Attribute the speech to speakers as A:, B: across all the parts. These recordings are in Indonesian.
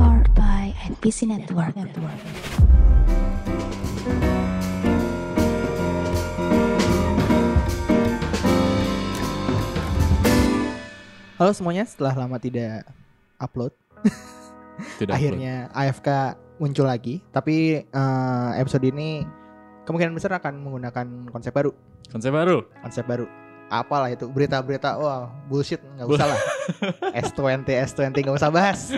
A: Spotify and PC Network.
B: Halo semuanya, setelah lama tidak upload,
C: Tidak
B: akhirnya AFK muncul lagi. Tapi eh, episode ini kemungkinan besar akan menggunakan konsep baru.
C: upload. Konsep baru.
B: Konsep baru. Apalah itu berita-berita wah bullshit nggak usah lah. S20 S20 nggak usah bahas.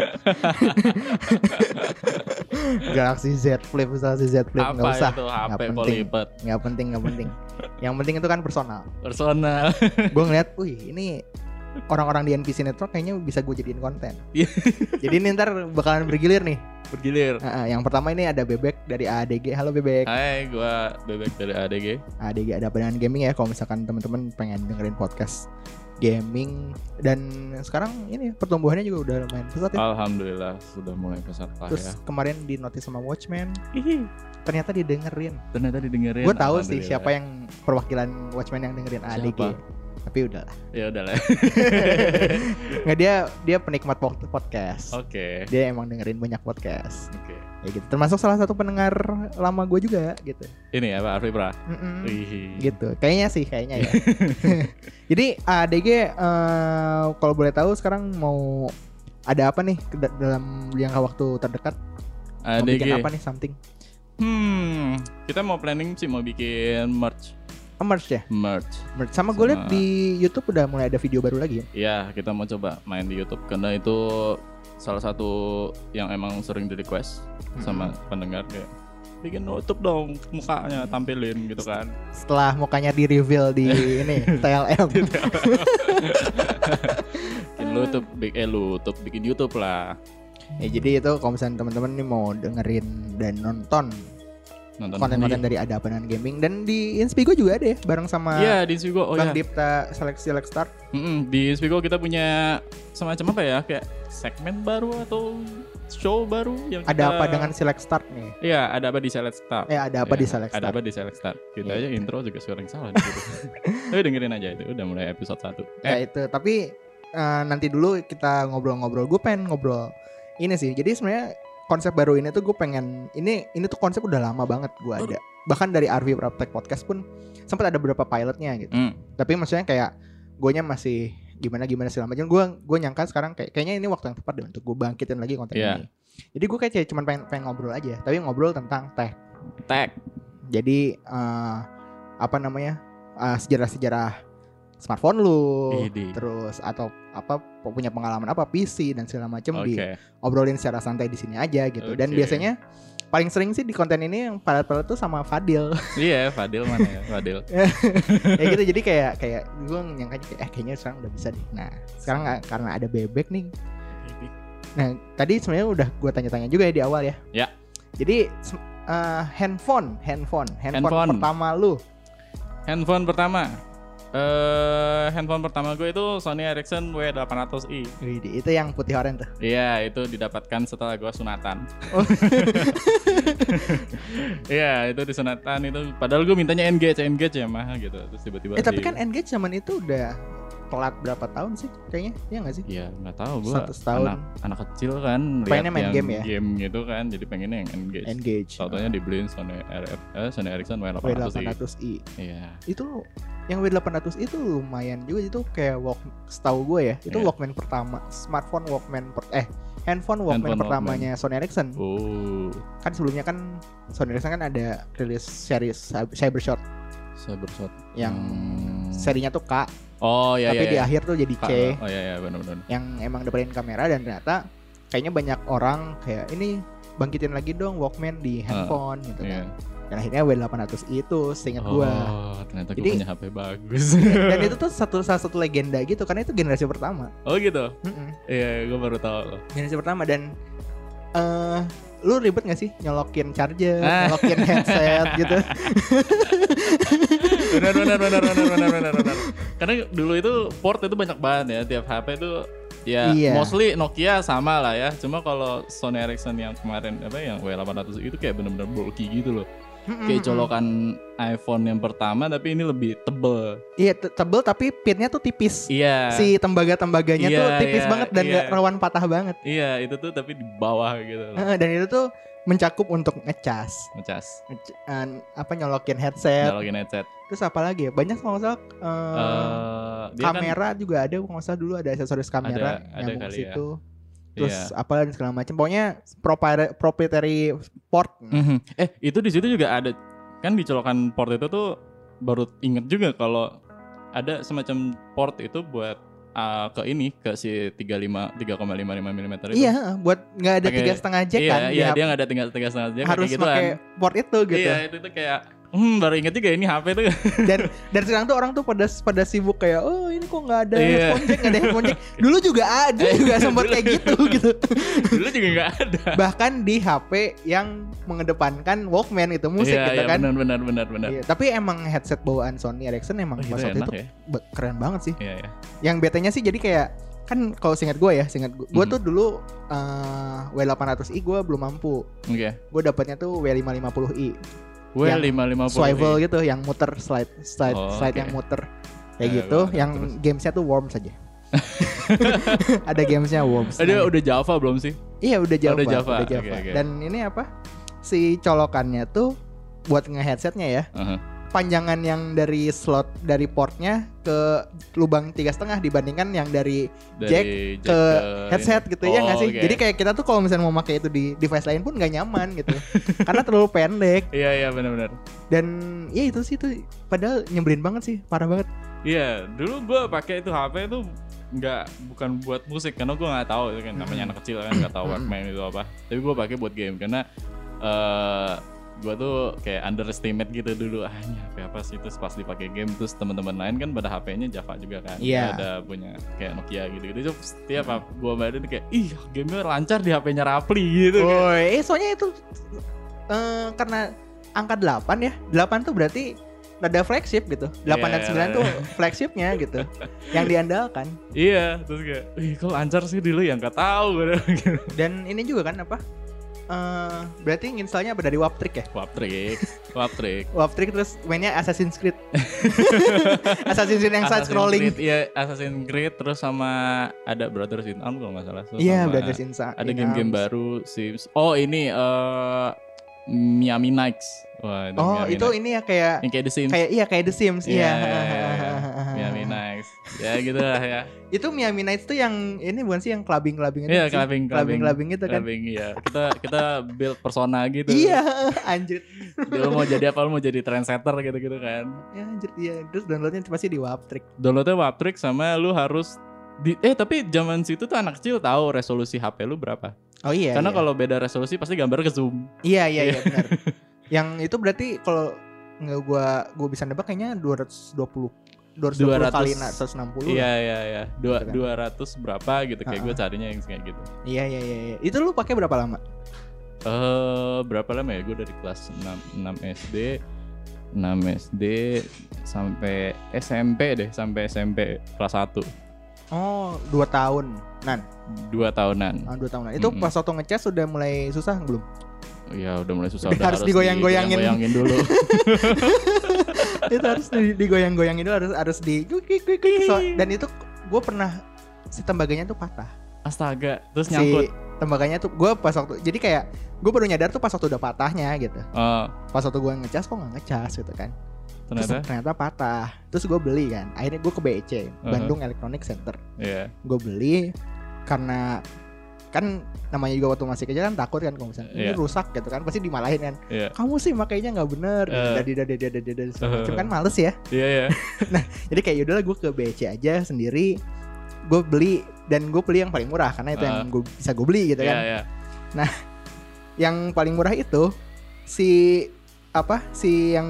B: Galaxy Z Flip, Galaxy Z Flip
C: Apa
B: nggak usah.
C: itu HP
B: penting.
C: polipet
B: Nggak penting, nggak penting. Yang penting itu kan personal.
C: personal?
B: gue ngeliat, wih ini orang-orang di NPC Network kayaknya bisa gue jadiin konten.
C: Iya.
B: Jadi ini ntar bakalan bergilir nih.
C: Bergilir.
B: Heeh, yang pertama ini ada Bebek dari ADG. Halo Bebek.
C: Hai, gua bebek dari ADG.
B: ADG ada pandangan gaming ya kalau misalkan teman-teman pengen dengerin podcast gaming dan sekarang ini pertumbuhannya juga udah lumayan pesat ya.
C: Alhamdulillah sudah mulai pesat lah
B: Terus
C: ya.
B: kemarin di notice sama Watchmen,
C: Ih,
B: ternyata didengerin.
C: ternyata didengerin.
B: Gue tahu sih siapa yang perwakilan Watchmen yang dengerin ADG.
C: Siapa?
B: Tapi udahlah.
C: Ya udahlah.
B: Nggak dia dia penikmat pod- podcast.
C: Oke.
B: Dia emang dengerin banyak podcast.
C: Oke.
B: Ya gitu. Termasuk salah satu pendengar lama gue juga gitu.
C: Ini ya Pak Arfi Pra.
B: Mm-mm.
C: Ih.
B: Hmm. gitu kayaknya sih kayaknya ya jadi ah, ADG eh, kalau boleh tahu sekarang mau ada apa nih ke- da- dalam jangka waktu terdekat mau bikin
C: ADG.
B: apa nih something
C: Hmm, kita mau planning sih mau bikin merch.
B: Eh, merch ya
C: Merch.
B: merch sama gue liat
C: Sama-
B: di YouTube udah mulai ada video baru lagi ya
C: Ya, kita mau coba main di YouTube karena itu salah satu yang emang sering di request sama pendengar kayak bikin nutup dong mukanya tampilin gitu kan
B: setelah mukanya di reveal di ini TLM
C: bikin nutup bik eh nutup bikin YouTube lah
B: ya jadi itu kalau misalnya teman-teman nih mau dengerin dan nonton
C: nonton
B: konten-konten dari ada apa dengan gaming dan di Inspigo juga ada ya bareng sama
C: Iya di Inspigo oh
B: Bang
C: ya
B: Dipta seleksi Select Start
C: di Inspigo kita punya semacam apa ya kayak segmen baru atau show baru yang
B: ada
C: kita-
B: apa dengan Select Start nih
C: Iya ada apa di Select Start
B: eh ada apa
C: Ya,
B: di Select
C: Ada
B: Start
C: apa di Select Start? Kita
B: Iya.
C: aja intro juga sering salah di situ. Tapi dengerin aja itu udah mulai episode 1
B: Ya itu, tapi eh, nanti dulu kita ngobrol-ngobrol. Gue pengen ngobrol ini sih. Jadi sebenarnya konsep baru ini tuh gue pengen ini ini tuh konsep udah lama banget gue ada. Bahkan dari RV Praktek Podcast pun sempat ada beberapa pilotnya gitu.
C: Hmm.
B: Tapi maksudnya kayak gue nya masih gimana gimana segala macam. Gue gue nyangka sekarang kayak kayaknya ini waktu yang tepat deh untuk gue bangkitin lagi konten
C: Iya.
B: ini. Jadi gue kayak cuman pengen, pengen ngobrol aja, tapi ngobrol tentang tech.
C: Tag.
B: Jadi eh, apa namanya eh, sejarah-sejarah smartphone lu,
C: Idi.
B: terus atau apa punya pengalaman apa PC dan segala macam
C: Oke.
B: diobrolin secara santai di sini aja gitu. Dan
C: Oke.
B: biasanya paling sering sih di konten ini yang padat-padat tuh sama Fadil.
C: Iya, Fadil mana ya? Fadil.
B: ya gitu. Jadi kayak kayak gue nyangkanya kayak eh kayaknya sekarang udah bisa deh. Nah, sekarang nggak- karena ada bebek nih. Nah, tadi sebenarnya udah gue tanya-tanya juga ya di awal ya.
C: Ya.
B: Jadi se- eh, handphone, handphone, handphone,
C: Handphone.
B: pertama lu.
C: Handphone pertama. Eh, handphone pertama gue itu Sony Ericsson W800i.
B: Wih, Itu yang putih oranye tuh.
C: Iya, itu didapatkan setelah gue sunatan.
B: Oh.
C: Iya, itu disunatan itu. Padahal gue mintanya engage, engage ya mah gitu. Terus tiba-tiba.
B: Eh tapi
C: di-
B: kan Engage zaman itu udah telat berapa tahun sih kayaknya? Iya nggak sih?
C: Iya, nggak tahu gue.
B: Satu setahun.
C: Anak, anak kecil kan. lihat
B: Pengennya main
C: yang
B: game ya?
C: Game gitu kan, jadi pengennya yang engage.
B: Engage.
C: Satunya dibeliin Sony, RF, eh, Sony Ericsson W800i.
B: W800i
C: Iya.
B: itu yang W800 itu lumayan juga itu kayak walk setahu gue ya itu
C: Iya.
B: Walkman pertama smartphone Walkman per- eh handphone Walkman
C: Handphone
B: pertamanya Sony Ericsson
C: Oh,
B: kan sebelumnya kan Sony Ericsson kan ada rilis series Cybershot
C: saya bershot.
B: yang
C: Hmm.
B: serinya tuh K
C: Oh iya
B: tapi
C: iya.
B: di
C: iya.
B: akhir tuh jadi
C: Kak,
B: C
C: Oh iya iya benar-benar.
B: yang emang depanin kamera dan ternyata kayaknya banyak orang kayak ini bangkitin lagi dong Walkman di handphone gitu kan
C: Iya.
B: dan akhirnya W800 itu seingat gue
C: Oh, ternyata gue
B: Jadi-
C: punya HP bagus.
B: dan itu tuh satu salah satu legenda gitu karena itu generasi pertama
C: oh gitu.
B: Mm-mm.
C: Iya, gue baru tahu loh.
B: generasi pertama dan eh lu ribet gak sih nyolokin charger,
C: Ah.
B: nyolokin headset gitu?
C: Benar benar benar benar benar benar benar. Karena dulu itu port itu banyak banget ya tiap HP itu ya
B: Iya.
C: mostly Nokia sama ya, lah ya. Cuma kalau Sony Ericsson yang kemarin apa yang W800 itu kayak benar-benar bulky gitu loh. kayak colokan iPhone yang pertama tapi ini lebih tebel
B: Iya te- tebel tapi pitnya tuh tipis.
C: iya
B: Si tembaga-tembaganya tuh
C: Iya,
B: tipis
C: iya,
B: banget dan
C: iya.
B: nggak rawan patah banget.
C: iya itu tuh tapi di bawah gitu loh.
B: Heeh, Dan itu tuh mencakup untuk ngecas,
C: ngecas
B: Ngec- an- apa nyolokin headset.
C: nyalokin headset
B: Terus apa lagi? ya? Banyak kalau nggak salah eh,
C: Eh, dia kan-
B: kamera juga ada kalau nggak salah dulu ada aksesoris kamera
C: Ada- ada
B: nyambung
C: kali ya.
B: situ. Terus
C: iya.
B: apa dan segala macam. Pokoknya propri- proprietary port.
C: Mhm. eh itu di situ juga ada kan di colokan port itu tuh baru inget juga kalau ada semacam port itu buat ah, ke ini ke si 35 3,55 mm itu
B: Iya, heeh, buat nggak ada
C: Pakai-
B: tiga setengah jack
C: iya,
B: kan?
C: iya
B: di
C: dia
B: hap-
C: nggak ada tinggal tiga setengah jam
B: harus
C: kayak
B: pakai
C: gituan.
B: port itu gitu.
C: iya itu tuh kayak hmm baru inget juga ini HP tuh
B: Dan dan sekarang tuh orang tuh pada pada sibuk kayak, oh ini kok nggak ada
C: Iya. Eh,
B: headphone jack, nggak ada headphone jack. Dulu juga ada, juga sempat kayak gitu gitu.
C: dulu juga nggak ada
B: Bahkan di HP yang mengedepankan Walkman itu musik
C: iya,
B: gitu
C: iya,
B: kan.
C: benar benar benar benar
B: Iya, tapi emang headset bawaan Sony Ericsson emang
C: oh, gitu
B: pas waktu
C: enak
B: itu
C: ya
B: be- keren banget sih.
C: iya iya
B: yang betanya sih jadi kayak kan kalau singkat gue ya singkat gue
C: Mhm.
B: tuh dulu eh, W800i gue belum mampu
C: oke
B: gue dapatnya tuh W550i
C: gue
B: Yang
C: lima lima
B: swivel gitu yang muter slide slide
C: iya. Oh,
B: slide
C: oke.
B: yang muter kayak
C: Ya,
B: gitu
C: gua-
B: yang
C: terus.
B: gamesnya tuh Worms aja ada gamesnya Worms
C: ada
B: namanya.
C: udah Java belum sih
B: iya udah Java
C: Oh, udah Java,
B: udah Java.
C: oke, oke.
B: dan ini apa si colokannya tuh buat ngeheadsetnya ya
C: Heeh.
B: panjangan yang dari slot dari portnya ke lubang tiga setengah dibandingkan yang dari
C: dari
B: Jack
C: Jack
B: ke
C: ini.
B: headset gitu ya
C: Oh,
B: nggak sih?
C: oke.
B: Jadi kayak kita tuh kalau misalnya mau pakai itu di device lain pun nggak nyaman gitu, karena terlalu pendek
C: iya iya benar benar
B: dan ya itu sih itu padahal nyebelin banget sih, parah banget.
C: Iya, dulu gue pakai itu HP itu nggak bukan buat musik karena gue nggak tahu itu kan namanya
B: Hmm.
C: anak kecil kan nggak tahu
B: Mm-mm.
C: Walkman itu apa. Tapi gue pakai buat game karena eh gue tuh kayak underestimate gitu dulu ah ini HP apa sih terus pas dipakai game terus teman-teman lain kan pada HP-nya Java juga kan
B: Iya.
C: ada punya kayak Nokia gitu gitu terus setiap gue badan kayak ih gamenya lancar di HP-nya Rapli gitu kan.
B: Woi, eh, soalnya itu eh, karena angka 8 ya, 8 tuh berarti ada flagship gitu, 8 dan
C: Iya,
B: 9 tuh flagshipnya gitu, yang diandalkan.
C: iya terus kayak ih kok lancar sih dulu yang nggak tahu gue gitu
B: Dan ini juga kan apa? eh berarti installnya apa dari Waptrick ya?
C: wap trick wap trick
B: Warp Trick terus mainnya Assassin's Creed. Assassin's Creed yang side
C: Assassin's
B: scrolling.
C: Creed, Iya, Assassin's Creed terus sama ada Brothers in Arms kalau nggak salah. Terus
B: Iya,
C: sama
B: Brothers in Sa-
C: Ada
B: in
C: game-game
B: Arms.
C: baru Sims. Oh, ini eh Miami Nights. Wah, itu
B: Oh,
C: Miami
B: itu
C: Nights.
B: ini ya kayak
C: yang kayak The Sims.
B: kayak iya kayak The Sims,
C: Iya,
B: iya.
C: iya, iya, iya. Miami Nights. Ya gitu lah ya.
B: Itu Miami Nights tuh yang ini bukan sih yang clubbing-clubbing itu.
C: Iya,
B: sih?
C: clubbing, clubbing,
B: Clubbing-clubbing gitu kan.
C: clubbing, iya. Kita kita build persona gitu.
B: Iya, anjir.
C: Jadi Lu mau jadi apa? Lu mau jadi trendsetter gitu-gitu kan.
B: Ya, anjir iya. Terus downloadnya pasti di Warp Trick.
C: Downloadnya Waptrick sama lu harus di, eh tapi zaman situ tuh anak kecil tahu resolusi HP lu berapa.
B: Oh iya.
C: Karena
B: iya.
C: kalau beda resolusi pasti gambar ke zoom.
B: Iya, iya, iya benar. yang itu berarti kalau nggak gua gua bisa nebak kayaknya 220 220 kali
C: 200.
B: 160
C: Iya iya iya.
B: Gitu
C: Dua
B: kan.
C: dua ratus berapa gitu
B: Ah.
C: kayak gue carinya yang kayak gitu.
B: Iya iya iya. iya. Itu lu pakai berapa lama?
C: Eh berapa lama ya? Gue dari kelas 6, 6 SD 6 SD sampai SMP deh sampai SMP kelas 1
B: Oh, 2 tahun. Nan,
C: dua tahunan
B: ah, 2 tahunan. Itu
C: Mm-mm.
B: pas waktu ngecas sudah mulai susah belum?
C: ya udah mulai susah
B: Udah harus digoyang-goyangin.
C: digoyang-goyangin dulu
B: itu harus di- digoyang-goyang itu harus harus di klik, klik, klik, klik. So- dan itu gue pernah si tembaganya tuh patah.
C: astaga terus
B: Si
C: nyangkut
B: tembaganya tuh gue pas waktu jadi kayak gue baru nyadar tuh pas waktu udah patahnya gitu.
C: Eh,
B: Pas waktu gue ngecas kok nggak ngecas gitu kan. Terus
C: ternyata
B: ternyata patah. Terus gue beli kan. Akhirnya gue ke BEC,
C: Uh-huh.
B: Bandung Electronic Center.
C: ya
B: gue beli karena kan namanya juga waktu masih kecil kan takut kan kalau misalnya ini
C: Iya.
B: rusak gitu kan pasti dimalahin kan
C: Iya.
B: kamu sih makainya nggak bener gitu.
C: Eh.
B: dadi dadi dadi dadi dan segala
C: Eh.
B: macam kan males ya
C: iya iya
B: jadi kayak yaudahlah gue ke BC aja sendiri gue beli dan gue beli yang paling murah karena itu yang gue bisa gue beli gitu
C: iya
B: kan
C: iya
B: yang paling murah itu si apa si yang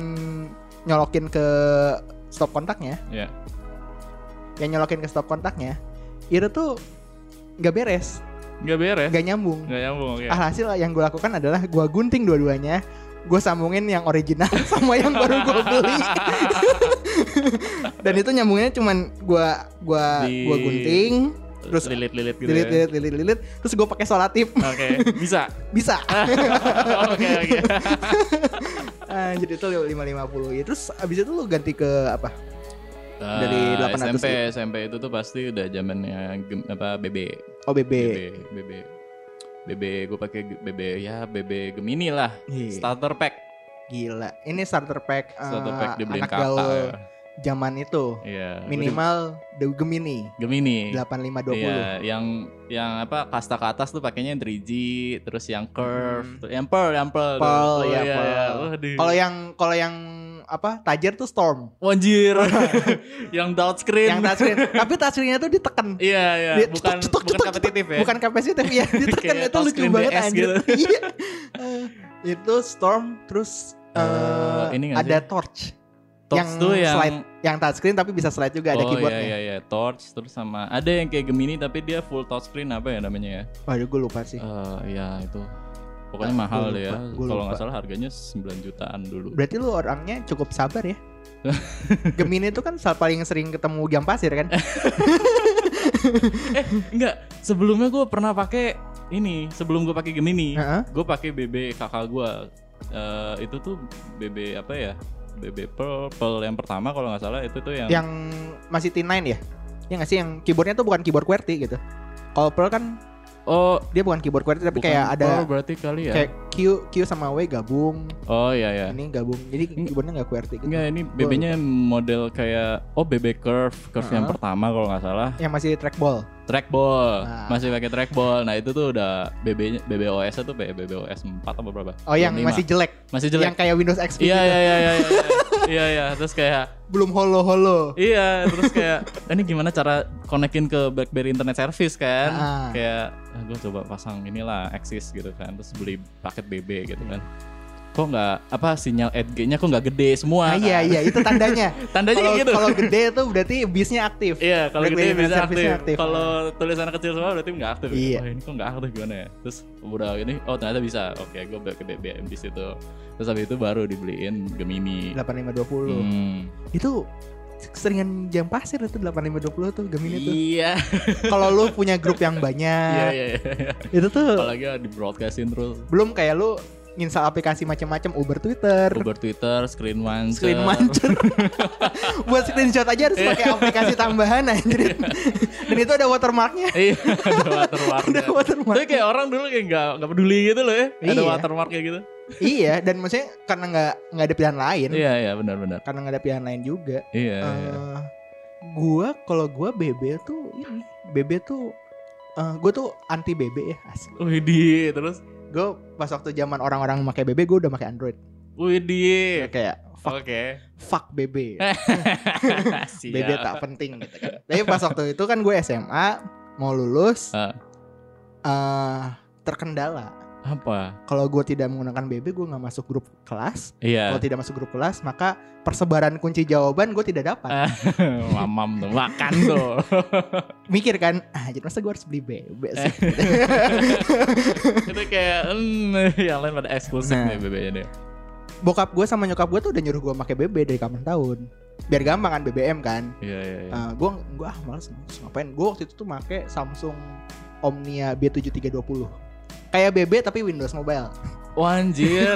B: nyolokin ke stop kontaknya
C: Iya.
B: yang nyolokin ke stop kontaknya itu tuh nggak beres
C: nggak beres
B: nggak Ah, nyambung
C: nggak nyambung oke
B: Alhasil yang gue lakukan adalah gue gunting dua-duanya Gue sambungin yang original sama yang baru gue beli Dan itu nyambungnya cuman gue gua,
C: Di-
B: gua gunting Terus
C: lilit-lilit gitu.
B: lilit,
C: ya.
B: lilit, lilit, lilit. Terus gue pakai solatif
C: Oke, bisa.
B: bisa.
C: Oke, oke.
B: Ah, jadi itu 550. Ya, terus abis itu lu ganti ke apa? Dari
C: Ah,
B: 800
C: SMP, SMP itu tuh pasti udah zamannya gem- apa BB.
B: OBB.
C: BB BB BB gue pakai ge- BB ya BB Gemini lah
B: Iya.
C: starter pack
B: Gila. Ini starter pack, eh,
C: starter pack dibeliin
B: anak
C: kakak
B: gaul
C: ya.
B: zaman itu.
C: Iya, gua di-
B: Minimal The Gemini
C: Gemini
B: 8520.
C: Iya, yang yang apa kasta ke atas tuh pakainya 3G terus yang curve
B: Mhm.
C: tuh- yang pearl yang pearl
B: Pearl,
C: Oh,
B: iya, pearl.
C: Waduh.
B: Kalau yang kalau yang apa? Tajer tuh Storm.
C: Wanjir. yang double screen
B: Yang touchscreen. Tapi touchscreennya tuh diteken.
C: iya iya
B: Dia
C: bukan
B: cetok, cetok,
C: bukan
B: cetok,
C: kompetitif ya
B: Bukan kapasitif ya, diteken
C: Kayak
B: itu lucu
C: touchscreen
B: banget
C: DS
B: anjir.
C: gitu.
B: Iya. Eh, itu Storm terus
C: Eh,
B: eh,
C: ini nggak
B: ada
C: sih?
B: torch.
C: Torch
B: yang
C: tuh yang
B: slide. Yang touchscreen tapi bisa slide juga ada
C: oh,
B: keyboardnya.
C: iya, iya, iya. torch terus sama ada yang kayak Gemini tapi dia full touchscreen apa ya namanya ya
B: Waduh gue lupa sih.
C: Eh, ya itu pokoknya
B: Ah,
C: mahal
B: Iya. gua
C: deh ya.
B: lupa, gua
C: Kalau nggak
B: lupa.
C: salah harganya 9 jutaan dulu.
B: Berarti lu orangnya cukup sabar ya. Gemini itu kan sal- paling sering ketemu jam pasir kan.
C: Eh. Enggak, sebelumnya gue pernah pakai ini. Sebelum gue pakai Gemini,
B: Heeh.
C: gue pakai BB kakak gue. Eh, itu tuh BB apa ya? BB Pearl, Pearl yang pertama kalau nggak salah itu tuh yang,
B: yang masih T9 ya. Ya nggak sih yang keyboardnya tuh bukan keyboard QWERTY gitu. Kalau Pearl kan
C: oh
B: dia bukan keyboard QWERTY tapi
C: bukan
B: kayak ada
C: Pearl berarti kali ya?
B: kayak Q Q sama W gabung.
C: Oh iya ya.
B: Ini gabung. Jadi keyboardnya nggak QWERTY gitu.
C: Enggak, ini BB-nya model kayak oh BB curve, curve yang
B: Heeh.
C: pertama kalau nggak salah.
B: Yang masih trackball.
C: Trackball,
B: Nah.
C: masih pakai trackball. Nah, itu tuh udah BB-nya BBOS-nya tuh kayak BBOS 4 apa berapa?
B: Oh yang
C: 25.
B: masih jelek.
C: masih jelek.
B: Yang kayak Windows XP gitu.
C: Iya iya iya iya iya. iya iya terus kayak
B: Belum holo-holo.
C: iya terus kayak ini gimana cara konekin ke BlackBerry internet service kan
B: Ah.
C: kayak gue coba pasang inilah Axis gitu kan terus beli paket BB gitu kan kok nggak apa sinyal 8G-nya kok nggak gede semua
B: Nah, iya
C: kan?
B: iya itu tandanya.
C: tandanya
B: Kalau
C: kayak gitu
B: kalau gede tuh berarti bisnya aktif.
C: iya kalau gede
B: BlackBerry
C: bisa
B: internet
C: aktif,
B: service-nya aktif.
C: kalau tulisan kecil semua berarti nggak aktif ya?
B: Iya.
C: Wah, ini kok nggak aktif gimana ya terus udah ini oh ternyata bisa oke gue beli ke BBM di situ terus habis itu baru dibeliin Gemini
B: 8520.
C: Hmm.
B: Itu seringan jam pasir itu 8520 tuh Gemini tuh.
C: Iya.
B: Kalau lu punya grup yang
C: Iya
B: banyak,
C: iya iya.
B: itu tuh
C: Apalagi di broadcastin terus
B: belum kayak lu install aplikasi macam-macam Uber Twitter.
C: Uber Twitter, Screen One,
B: Screen mancur Buat screenshot aja harus pakai aplikasi tambahan anjir Dan itu ada watermarknya
C: Iya, ada watermarknya.
B: Ada watermark
C: Tapi kayak orang dulu kayak nggak nggak peduli gitu loh ya. Ada
B: Iya.
C: watermarknya gitu.
B: Iya dan maksudnya karena nggak nggak ada pilihan lain
C: Iya iya benar-benar.
B: Karena nggak ada pilihan lain juga
C: Iya. iya.
B: Eh, Gua kalau gua BB tuh ini BB tuh eh, Gue tuh anti BB ya asik
C: Widih terus,
B: Gue pas waktu zaman orang-orang pakai BB gue udah pakai Android
C: widih.
B: Kayak
C: Oh.
B: fuck,
C: Oke.
B: fuck BB
C: Siap.
B: BB tak penting gitu kan. Tapi pas waktu itu kan gue SMA mau lulus
C: Ah.
B: eh, terkendala.
C: Apa?
B: Kalau gue tidak menggunakan BB gue nggak masuk grup kelas. Kalau
C: Iya.
B: Oh, tidak masuk grup kelas maka persebaran kunci jawaban gue tidak dapat.
C: Mamam tuh makan tuh.
B: Mikir kan, ah jadi masa gue harus beli BB sih.
C: Itu kayak hmm, yang lain pada eksklusif
B: Nah.
C: nih BB-nya deh.
B: Bokap gue sama nyokap gue tuh udah nyuruh gue pakai BB dari kapan tahun. Biar gampang kan BBM kan.
C: Iya iya iya.
B: Eh, gue gue ah males, males, ngapain. Gue waktu itu tuh pakai Samsung Omnia B7320. Kayak BB tapi Windows Mobile.
C: Wah, anjir.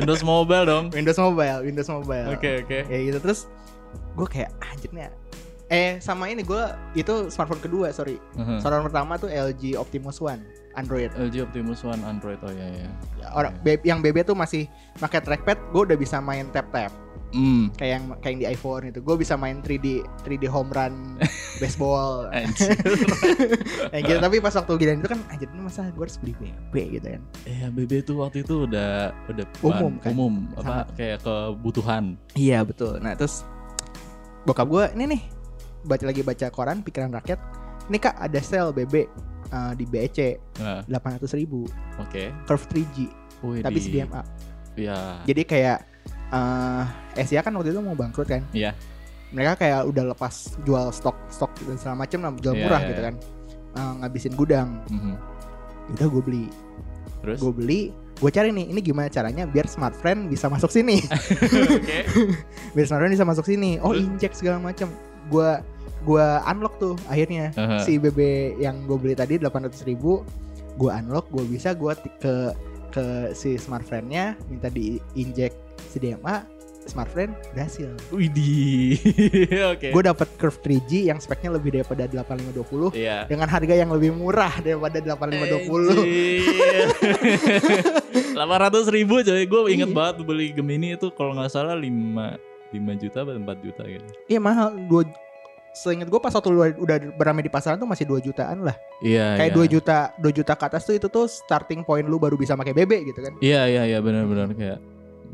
C: Windows Mobile dong.
B: Windows Mobile, Windows Mobile.
C: Oke oke.
B: Ya gitu terus gue kayak anjirnya. Eh sama ini gue itu smartphone kedua sorry.
C: Heeh.
B: Smartphone pertama tuh LG Optimus One Android.
C: LG Optimus One Android oh ya ya.
B: Orang be- yang BB tuh masih pakai trackpad, gue udah bisa main tap tap
C: Hmm.
B: kayak yang kayak yang di iPhone itu. Gue bisa main 3D 3D home run baseball. Yang gitu. Tapi pas waktu giliran itu kan anjir ini masa gue harus beli BB gitu kan.
C: ya BB tuh waktu itu udah udah
B: Umum,
C: bahan-
B: kan?
C: umum apa kayak kebutuhan.
B: Iya betul. Nah terus bokap gue ini nih baca lagi baca koran pikiran rakyat. Ini kak ada sale BB eh, di BEC
C: Nah,
B: 800 ribu
C: oke.
B: curve 3G
C: Wih,
B: tapi
C: di- iya.
B: CDMA.
C: Ya.
B: Jadi kayak eh Asia kan waktu itu mau bangkrut kan.
C: Iya.
B: Mereka kayak udah lepas jual stok stok dan segala macem lah jual
C: Iya,
B: murah
C: iya,
B: gitu
C: iya.
B: kan. Eh, ngabisin gudang. Ya
C: Mhm.
B: Udah gue beli.
C: Terus
B: Gue beli. Gue cari nih ini gimana caranya biar smartfriend bisa masuk sini.
C: oke.
B: biar smartphone bisa masuk sini oh
C: Terus?
B: injek segala macam gua gua unlock tuh akhirnya
C: Heeh.
B: si BB yang gue beli tadi 800.000 ribu gue unlock gue bisa gue ke ke si smartfriend-nya minta diinjek CDMA smartfriend berhasil
C: Widih. Oke.
B: gue dapat curve 3G yang speknya lebih daripada 8520
C: Iya.
B: dengan harga yang lebih murah daripada 8520
C: Delapan ratus ribu coy, gue inget
B: Iya.
C: banget beli Gemini itu kalau nggak salah 5 5 juta atau 4 juta gitu.
B: iya mahal dua seinget gue pas waktu lu udah beramai di pasaran tuh masih 2 jutaan lah
C: Iya.
B: kayak
C: iya.
B: 2 juta 2 juta ke atas tuh itu tuh starting point lu baru bisa pakai BB gitu kan
C: Iya iya iya benar-benar kayak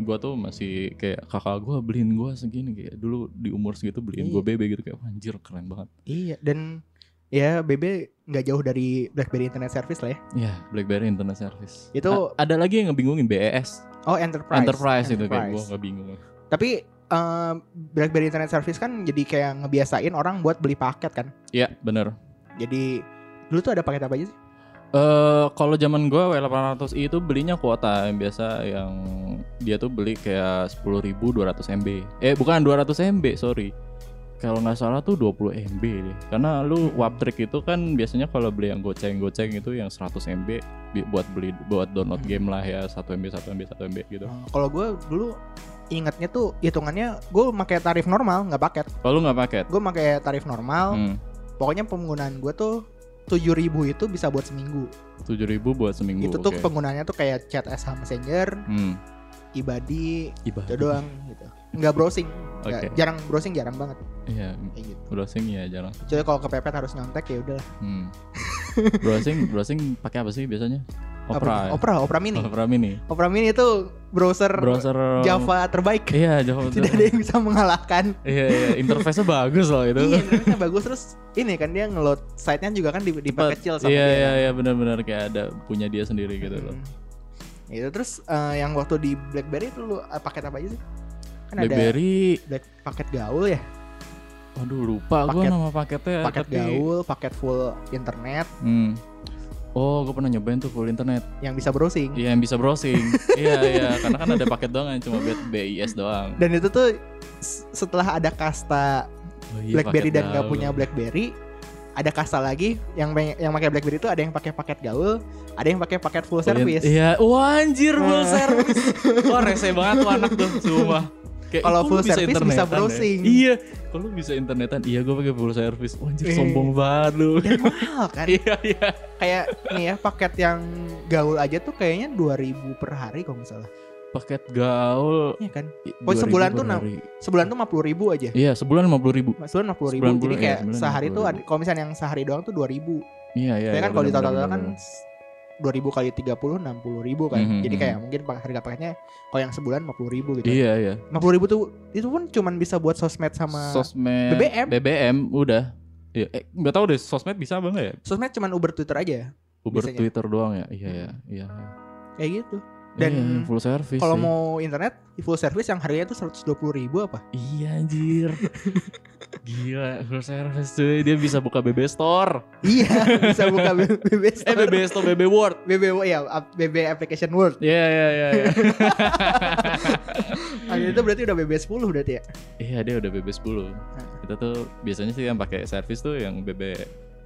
C: gua tuh masih kayak kakak gua beliin gua segini kayak dulu di umur segitu beliin gua
B: Iya.
C: BB gitu kayak "Wah, anjir keren banget.
B: iya dan ya BB nggak jauh dari BlackBerry Internet Service lah ya
C: Iya, BlackBerry Internet Service.
B: Itu-
C: A- ada lagi yang ngebingungin BES,
B: oh Enterprise
C: Enterprise, itu kayak gua nggak bingung.
B: tapi eh, BlackBerry Internet Service kan jadi kayak ngebiasain orang buat beli paket kan
C: Iya, bener
B: jadi dulu tuh ada paket apa aja sih
C: Eh kalau zaman gua W800i itu belinya kuota yang biasa yang dia tuh beli kayak 10.200 MB. Eh bukan 200 MB, sorry. Kalau nggak salah tuh 20 MB deh. Karena lu Waptrick itu kan biasanya kalau beli yang goceng-goceng itu yang 100 MB bi- buat beli buat download
B: Hmm.
C: game lah ya 1 MB 1 MB 1 MB gitu.
B: Eh, kalau gue dulu ingatnya tuh hitungannya gue pakai tarif normal nggak paket
C: Kalau lu nggak paket.
B: gue pakai tarif normal
C: Hmm,
B: pokoknya penggunaan gue tuh 7000 itu bisa buat seminggu
C: 7.000 buat seminggu.
B: itu tuh
C: oke.
B: penggunaannya tuh kayak chat SH messenger
C: Hmm.
B: ibadi
C: Iba.
B: itu doang gitu nggak browsing Nggak-
C: Oke.
B: jarang browsing jarang banget
C: Iya,
B: kayak gitu
C: browsing ya jarang.
B: jadi kalau kepepet harus nyontek ya udah
C: Hmm. browsing browsing pakai apa sih biasanya? Opera. ya?
B: Opera Opera Mini
C: Opera Mini.
B: Opera Mini itu browser,
C: Browser
B: Java terbaik
C: Iya, Java.
B: tidak ada yang bisa mengalahkan
C: Iya, iya, interface-nya bagus loh itu.
B: iya ternyata bagus terus ini kan dia ngeload site-nya juga kan di- diperkecil sama
C: Iya,
B: dia kan.
C: iya, iya, benar-benar kayak ada punya dia sendiri gitu loh.
B: Hmm. Itu terus eh, yang waktu di BlackBerry itu lu eh, paket apa aja sih? Kan ada
C: BlackBerry,
B: Black, paket gaul ya,
C: aduh lupa gua
B: Paket-
C: nama paketnya.
B: paket
C: Eh, tapi-
B: gaul, paket full internet
C: Hmm. Oh, gue pernah nyobain tuh full internet.
B: yang bisa browsing.
C: Iya, yang bisa browsing. Iya, iya, karena kan ada paket doang yang cuma buat BIS doang.
B: Dan itu tuh s- setelah ada kasta
C: Oh, iya,
B: BlackBerry
C: paket
B: dan nggak
C: gaul.
B: punya BlackBerry, ada kasta lagi yang peng- yang pakai BlackBerry itu ada yang pakai paket gaul, ada yang pakai paket full
C: Full in-
B: service.
C: Iya, wah anjir full
B: Nah.
C: service. Wah, rese banget tuh anak tuh, sumpah. Kayak,
B: Kalau
C: "Ih, kok
B: full
C: lu
B: service bisa
C: internetan ya?"
B: browsing.
C: Iya, kalau lu bisa internetan, iya gue pakai full service. Wah, anjir
B: Iya.
C: sombong banget lu.
B: Dan mahal kan?
C: Iya, iya.
B: Kayak nih ya paket yang gaul aja tuh kayaknya 2000 per hari kalau nggak salah.
C: Paket gaul.
B: Iya kan?
C: i-
B: Oh,
C: 2000
B: sebulan
C: per
B: tuh enam-
C: hari.
B: Sebulan tuh 50.000 aja.
C: Iya, sebulan 50 ribu.
B: Sebulan 50 ribu,
C: Sebulan
B: jadi
C: bulan,
B: kayak
C: iya, sebulan
B: sehari tuh
C: 50.000.
B: ada- kalau misalnya yang sehari doang tuh 2000 ribu
C: Iya,
B: Saya
C: iya. iya,
B: kan kalau
C: benar,
B: ditotal-total
C: benar,
B: kan
C: benar.
B: 2000 kali 30 60 ribu kan
C: Mhm,
B: Jadi
C: mhm.
B: kayak mungkin pak- harga paketnya kalau yang sebulan 50 ribu gitu
C: Iya, iya.
B: 50 ribu tuh itu pun cuman bisa buat sosmed sama
C: Sosmed.
B: BBM.
C: BBM, udah. Iya, eh, gak tau deh sosmed bisa apa enggak ya?
B: Sosmed cuman Uber Twitter aja ya?
C: Uber
B: Bisanya.
C: Twitter doang ya? Iya, iya, iya. iya.
B: Kayak gitu Dan
C: Iya, iya, full service.
B: Kalau
C: sih.
B: mau internet full service yang harganya tuh 120 ribu apa
C: Iya anjir. Gila, full service cuy. Dia bisa buka BB Store.
B: Iya bisa buka BB
C: Eh
B: Store
C: BB Store, BB World.
B: BB ya ap- BB application world
C: Iya, iya, iya. iya.
B: Ada itu berarti udah BB 10 berarti ya
C: Iya, dia udah BB 10. Kita tuh biasanya sih yang pakai service tuh yang BB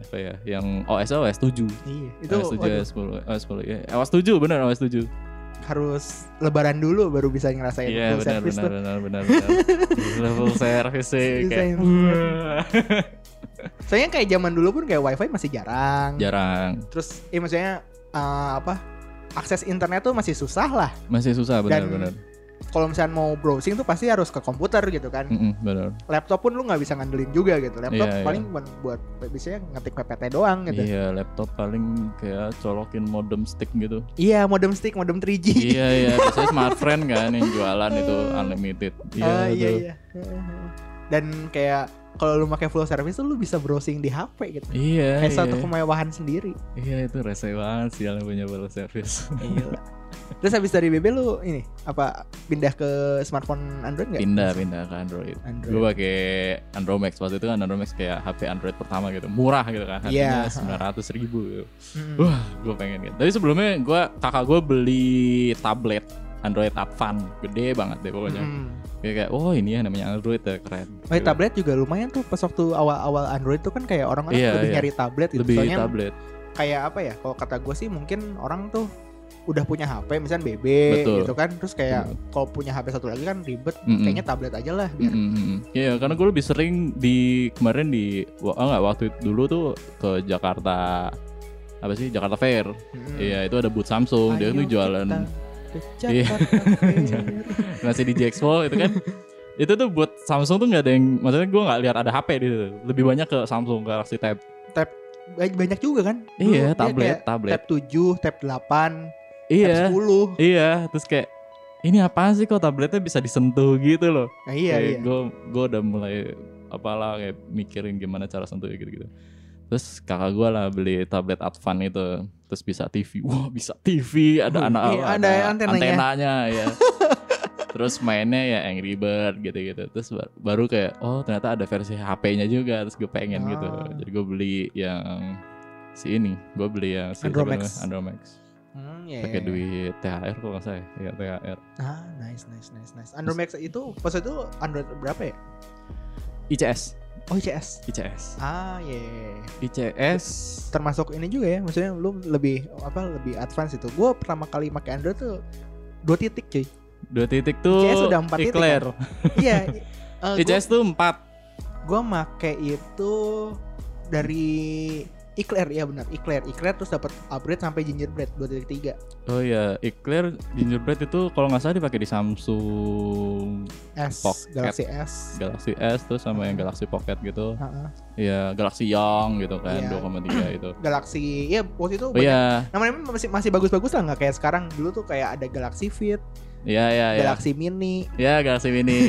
C: apa ya? Yang OS OS 7.
B: Iya itu
C: Itu OS 7,
B: waduh,
C: OS 10, OS 10. Iya, OS 7 benar OS 7.
B: harus lebaran dulu baru bisa ngerasain
C: Iya,
B: full
C: benar
B: service
C: benar
B: tuh
C: benar benar. benar. Gila full service sih
B: Bisa
C: kayak.
B: yang Soalnya kayak zaman dulu pun kayak wifi masih jarang.
C: Ya. Jarang.
B: Terus ya maksudnya eh, apa? Akses internet tuh masih susah lah.
C: Masih susah benar
B: Dan-
C: benar.
B: Kalau misalnya mau browsing tuh pasti harus ke komputer gitu kan.
C: Mm-mm, benar.
B: Laptop pun lu nggak bisa ngandelin juga gitu. Laptop
C: Iya, iya.
B: paling cuma buat biasanya ngetik PPT doang gitu.
C: Iya, laptop paling kayak colokin modem stick gitu.
B: Iya, modem stick, modem 3G.
C: iya, iya, biasanya smartfren kan yang jualan itu unlimited. Iya,
B: Ah, iya,
C: tuh.
B: iya. Dan kayak kalau lu pakai full service tuh lu bisa browsing di HP gitu.
C: Iya,
B: Kayak
C: iya,
B: satu kemewahan sendiri.
C: iya, itu rese banget sih yang punya baru service.
B: Gila. Terus habis dari BB lu ini apa pindah ke smartphone Android nggak?
C: pindah, pindah ke Android.
B: Android.
C: Gue pakai Android Max waktu itu kan Android Max kayak HP Android pertama gitu, murah gitu kan, harganya
B: Iya.
C: sembilan ratus ribu. Gitu.
B: Mm.
C: Wah, gue pengen gitu. Tapi sebelumnya gue kakak gue beli tablet Android Advan, gede banget deh pokoknya.
B: Mm.
C: Kayak, kayak, oh ini ya namanya Android ya keren.
B: Oh, ya, tablet juga lumayan tuh pas waktu awal-awal Android tuh kan kayak orang-orang
C: Iya,
B: lebih
C: iya.
B: nyari tablet gitu.
C: lebih
B: Soalnya
C: tablet.
B: kayak apa ya? Kalau kata gue sih mungkin orang tuh udah punya HP misalnya BB
C: Betul.
B: gitu kan. Terus kayak kalau punya HP satu lagi kan ribet,
C: Mm-mm.
B: kayaknya tablet aja lah biar
C: Mm, mm, mm. Iya, karena gue lebih sering di kemarin di wah enggak waktu itu dulu tuh ke Jakarta apa sih Jakarta Fair.
B: Mm.
C: Iya, itu ada booth Samsung, dia
B: Ayo
C: tuh jualan
B: kita ke
C: Iya.
B: Jakarta Fair.
C: masih di GX Mall itu kan. itu tuh buat Samsung tuh nggak ada yang maksudnya gue nggak lihat ada HP di situ. Lebih banyak ke Samsung Galaxy Tab.
B: Ba- banyak juga kan Dulu dia
C: Iya, tablet,
B: kayak
C: tablet.
B: tab 7, tab 8, tab
C: Iya.
B: 10
C: Iya, terus kayak ini apaan sih kok tabletnya bisa disentuh gitu loh.
B: nah, iya iya
C: Gue gue udah mulai apalah kayak mikirin gimana cara sentuhnya gitu-gitu. Terus kakak gue lah beli tablet Advan itu, terus bisa TV. Wah bisa TV, ada
B: Oh,
C: anak
B: iya, ada antenanya.
C: antenanya, ya. terus mainnya ya Angry Bird gitu-gitu. Terus ba- baru kayak oh ternyata ada versi HP-nya juga, terus gue pengen gitu.
B: Ah.
C: Jadi gue beli yang si ini, gue beli yang si
B: Andromax.
C: siapa namanya? Andromax.
B: Hmm, iya, iya.
C: Pakai duit THR kok nggak salah, ya Iya, THR.
B: Ah, nice, nice, nice, nice. Android Max itu pas itu Android berapa ya?
C: ICS,
B: Oh, ICS.
C: ICS,
B: Ah, iya. iya, iya.
C: ICS.
B: Termasuk ini juga ya, maksudnya lu lebih apa lebih advance itu. Gua pertama kali pakai Android tuh dua titik cuy.
C: Dua titik tuh
B: ICS udah empat titik,
C: Oh, Eclair.
B: iya. i- eh, gua-
C: ICS tuh empat.
B: gua make itu dari Eclair ya benar, Eclair. Eclair terus dapat upgrade sampai Gingerbread 2.3.
C: Oh iya, Eclair Gingerbread itu kalau nggak salah dipakai di Samsung
B: S,
C: Pocket.
B: Galaxy S.
C: Galaxy S terus sama yang Galaxy Pocket gitu.
B: Heeh.
C: Iya, Galaxy Young gitu kan,
B: Iya.
C: 2,3 itu.
B: Galaxy ya waktu itu
C: Oh iya,
B: namanya masih masih bagus-bagus lah nggak kayak sekarang dulu tuh kayak ada Galaxy Fit,
C: iya iya iya.
B: Galaxy Mini,
C: Ya Galaxy Mini.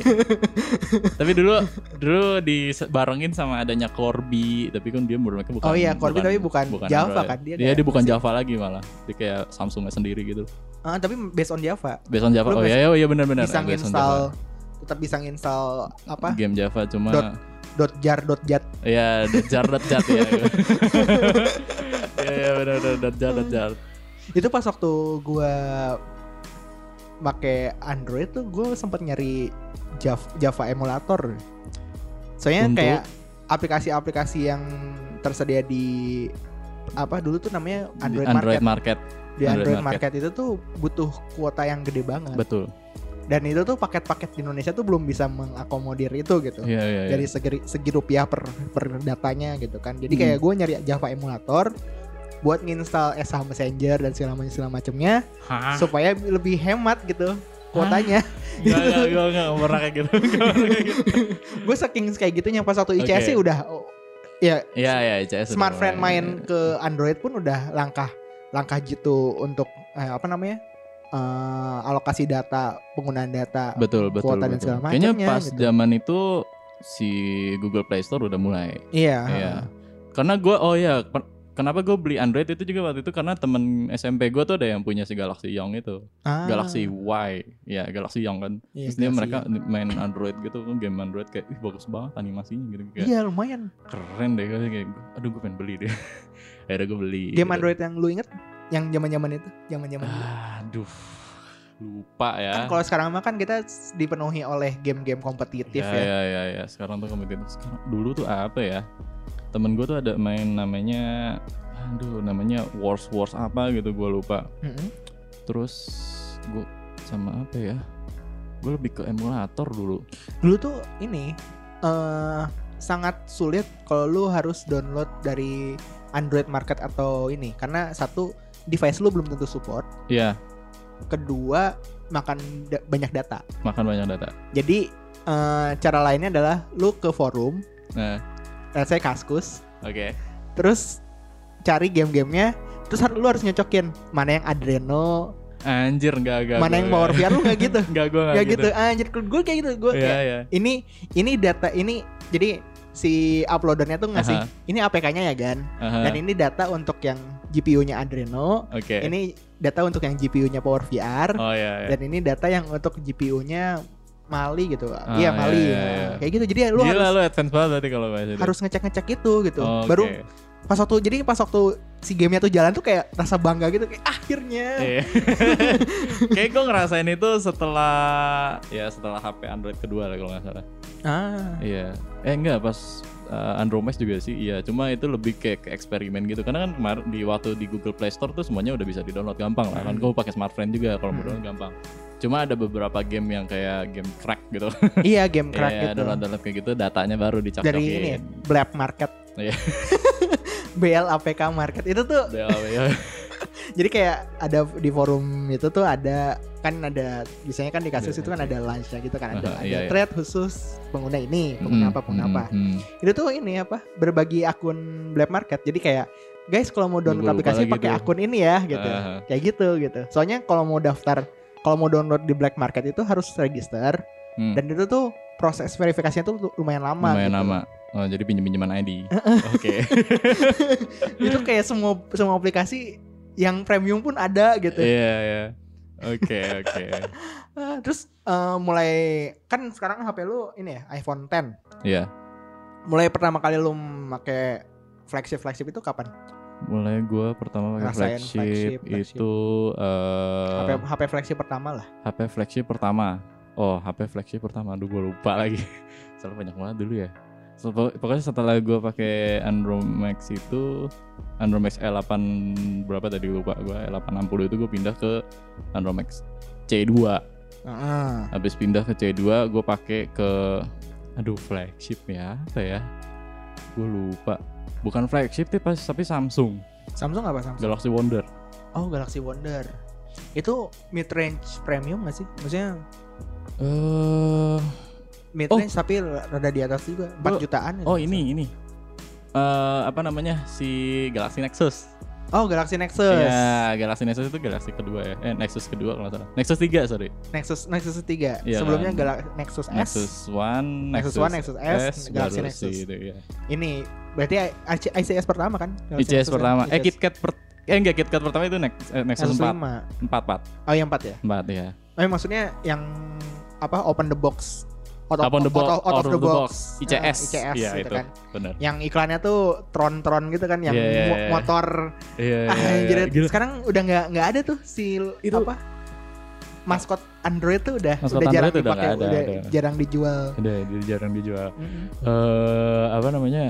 C: tapi dulu dulu dibarengin sama adanya Corby, tapi kan dia mereka bukan
B: Oh iya, Corby tapi bukan Java kan, dia
C: Dia,
B: kayak
C: dia bukan
B: masih-
C: Java lagi malah. Dia kayak Samsungnya sendiri gitu.
B: Ah, tapi based on Java.
C: Based on Java.
B: Lu
C: Oh iya iya benar benar.
B: bisa install tetap bisa install apa?
C: game Java cuma
B: Dot. dot .jar dot .jat.
C: Iya, Dajjar Dajjar ya. Iya, iya benar benar Dajjar Dajjar.
B: Itu pas waktu gua pakai Android tuh gua sempat nyari Java, Java emulator. Soalnya
C: Untuk?
B: kayak aplikasi-aplikasi yang tersedia di apa dulu tuh namanya Android,
C: Android
B: Market.
C: Market.
B: Di Android,
C: Android
B: Market. itu tuh butuh kuota yang gede banget.
C: Betul.
B: Dan itu tuh paket-paket di Indonesia tuh belum bisa mengakomodir itu gitu.
C: Iya, iya, iya.
B: dari segi, segi rupiah per per datanya gitu kan jadi
C: Hmm.
B: kayak gue nyari Java emulator buat nginstal SH Messenger dan segala macam segala macamnya
C: Hah?
B: supaya lebih hemat gitu kuotanya
C: Enggak, enggak, enggak, enggak Iya, nggak pernah kayak gitu. Nggak pernah kayak gitu.
B: gue saking kayak gitunya pas waktu ICS sih
C: Oke.
B: udah oh, ya
C: Iya, iya, ICS. udah
B: smart friend
C: mulai.
B: main ke Android pun udah langkah langkah gitu untuk eh, apa namanya eh, alokasi data penggunaan data
C: Betul, betul.
B: kuota dan
C: betul.
B: segala
C: Kayaknya
B: macamnya
C: pas
B: gitu.
C: zaman itu si Google Play Store udah mulai.
B: iya
C: Iya. Karena gue, oh iya, per- kenapa gue beli Android itu juga waktu itu karena temen SMP gue tuh ada yang punya si Galaxy Young itu,
B: Ah,
C: Galaxy Y, ya Galaxy Young kan.
B: iya,
C: Terus dia
B: Galaxy.
C: mereka main Android gitu, game Android kayak Ih, bagus banget animasinya gitu kayak
B: iya lumayan
C: keren deh kayak kayak, aduh gue pengen beli deh. Akhirnya gue beli.
B: game
C: gitu.
B: Android yang lu inget yang zaman zaman itu zaman zaman
C: Ah, Aduh. Lupa ya.
B: kan kalau sekarang mah kan kita s- dipenuhi oleh game-game kompetitif
C: ya,
B: ya.
C: ya. ya, ya. Sekarang tuh kompetitif. Sekarang dulu tuh apa ya? Temen gue tuh ada main namanya aduh namanya Wars Wars apa gitu gue lupa.
B: Mm-mm.
C: Terus gue sama apa ya? Gue lebih ke emulator dulu.
B: Dulu tuh ini eh sangat sulit kalau lu harus download dari Android Market atau ini karena satu device lu belum tentu support,
C: Iya,
B: kedua makan da- banyak data.
C: makan banyak data.
B: Jadi eh cara lainnya adalah lu ke forum,
C: Nah,
B: let's say Kaskus,
C: oke.
B: terus cari game-gamenya, terus har- lu harus nyocokin mana yang Adreno,
C: Anjir enggak enggak.
B: mana yang
C: gua-
B: Power VR lu nggak gitu.
C: Enggak gue enggak
B: Gak gitu. Anjir, gue kayak gitu. Gue
C: Iya, iya.
B: ini ini data ini jadi si uploadernya tuh ngasih
C: Aha.
B: ini APK-nya ya Gan dan
C: Aha,
B: ini data untuk yang GPU-nya Adreno
C: Oke.
B: ini data untuk yang GPU-nya Power VR
C: Oh iya, iya.
B: dan ini data yang untuk GPU-nya Mali gitu
C: Ah,
B: iya Mali
C: iya, iya, iya.
B: kayak gitu jadi lu
C: Gila
B: harus
C: lu advance banget berarti kalau bahas itu.
B: harus ngecek ngecek itu gitu
C: Oke.
B: baru pas waktu jadi pas waktu si gamenya tuh jalan tuh kayak rasa bangga gitu kayak akhirnya
C: Iya. Kayak gue ngerasain itu setelah ya setelah HP Android kedua lah kalau nggak salah.
B: ah
C: Iya. Eh enggak pas uh, Andromes juga sih. Iya, cuma itu lebih kayak ke eksperimen gitu. Karena kan kemarin di waktu di Google Play Store tuh semuanya udah bisa di-download gampang lah. Kan gue pakai smartphone juga kalau mau
B: Hmm.
C: download gampang. Cuma ada beberapa game yang kayak game crack gitu.
B: iya game crack
C: Iya,
B: gitu
C: download-download kayak gitu datanya baru dicap
B: dari ini ya, black market
C: Iya.
B: BLAPK market itu tuh jadi kayak ada di forum itu tuh ada kan ada biasanya kan di kasus
C: Iya,
B: itu kan
C: iya.
B: ada launch gitu kan ada,
C: Aha,
B: ada
C: iya, iya.
B: thread khusus pengguna ini
C: Hmm,
B: pengguna apa pengguna apa itu tuh ini apa berbagi akun black market jadi kayak guys kalau mau download
C: Lupa-lupa
B: aplikasi
C: lagi
B: pakai
C: tuh.
B: akun ini ya gitu
C: Aha.
B: kayak gitu gitu soalnya kalau mau daftar kalau mau download di black market itu harus register
C: Hmm.
B: dan itu tuh proses verifikasinya tuh lumayan lama gitu.
C: Lumayan lama. Oh, jadi pinjam-pinjaman ID. Oke.
B: itu
C: Hmm.
B: kayak semua semua aplikasi yang premium pun ada gitu
C: Iya, iya. Oke, oke.
B: Ah, terus eh, mulai kan sekarang HP lu ini ya iPhone 10
C: Iya.
B: mulai pertama kali lu make flagship flagship itu kapan
C: Mulai gua pertama pakai
B: Ngerasain flagship,
C: flagship,
B: flagship. ya,
C: itu eh,
B: HP HP flagship pertama lah
C: HP flagship pertama. Oh, HP flagship pertama. Aduh, gua lupa lagi. Soalnya banyak banget dulu ya. So, pok- pokoknya setelah gua pakai Android Max itu Android Max L8 berapa tadi lupa gua L860 itu gua pindah ke Android Max C2.
B: Heeh.
C: Habis pindah ke C2 gue pakai ke aduh flagship ya apa ya? Gue lupa. Bukan flagship tapi pas tapi Samsung
B: Samsung apa Samsung
C: Galaxy Wonder.
B: oh Galaxy Wonder itu mid range premium gak sih maksudnya
C: Eh
B: mid range tapi rada di atas juga 4
C: Gua-
B: jutaan gitu.
C: oh ini ini. Eh apa namanya si Galaxy Nexus?
B: oh Galaxy Nexus
C: Iya, Galaxy Nexus itu Galaxy kedua ya. Eh Nexus kedua kalau nggak salah. Nexus 3 sorry.
B: Nexus Nexus 3
C: Iya
B: sebelumnya
C: kan?
B: Galaxy Nexus S
C: Nexus One,
B: Nexus One, Nexus S, Galaxy
C: baru
B: Nexus.
C: si itu, ya.
B: ini berarti I- ICS pertama kan Galaxy
C: ICS
B: Nexus
C: pertama.
B: kan?
C: Eh
B: ICS.
C: KitKat per eh enggak KitKat pertama itu Nex- eh, Nexus
B: Nexus 5
C: 4. 4 4
B: oh yang 4 ya
C: 4 ya.
B: Eh maksudnya yang apa open the box out of,
C: Open the box,
B: out of- out of the box,
C: ICS.
B: Eh, ICS
C: Iya,
B: gitu
C: itu.
B: kan.
C: Bener.
B: Yang iklannya tuh tron-tron gitu kan yang
C: Iya, iya,
B: mo-
C: iya.
B: motor
C: Iya,
B: ah, jadi sekarang udah nggak nggak ada tuh si l-
C: Itu-
B: apa maskot Android tuh udah
C: Maskot
B: udah jarang
C: Android udah
B: dipakai,
C: nggak ada,
B: udah
C: udah.
B: jarang dijual.
C: Udah, dia jarang dijual.
B: Mm-mm.
C: Eh, apa namanya?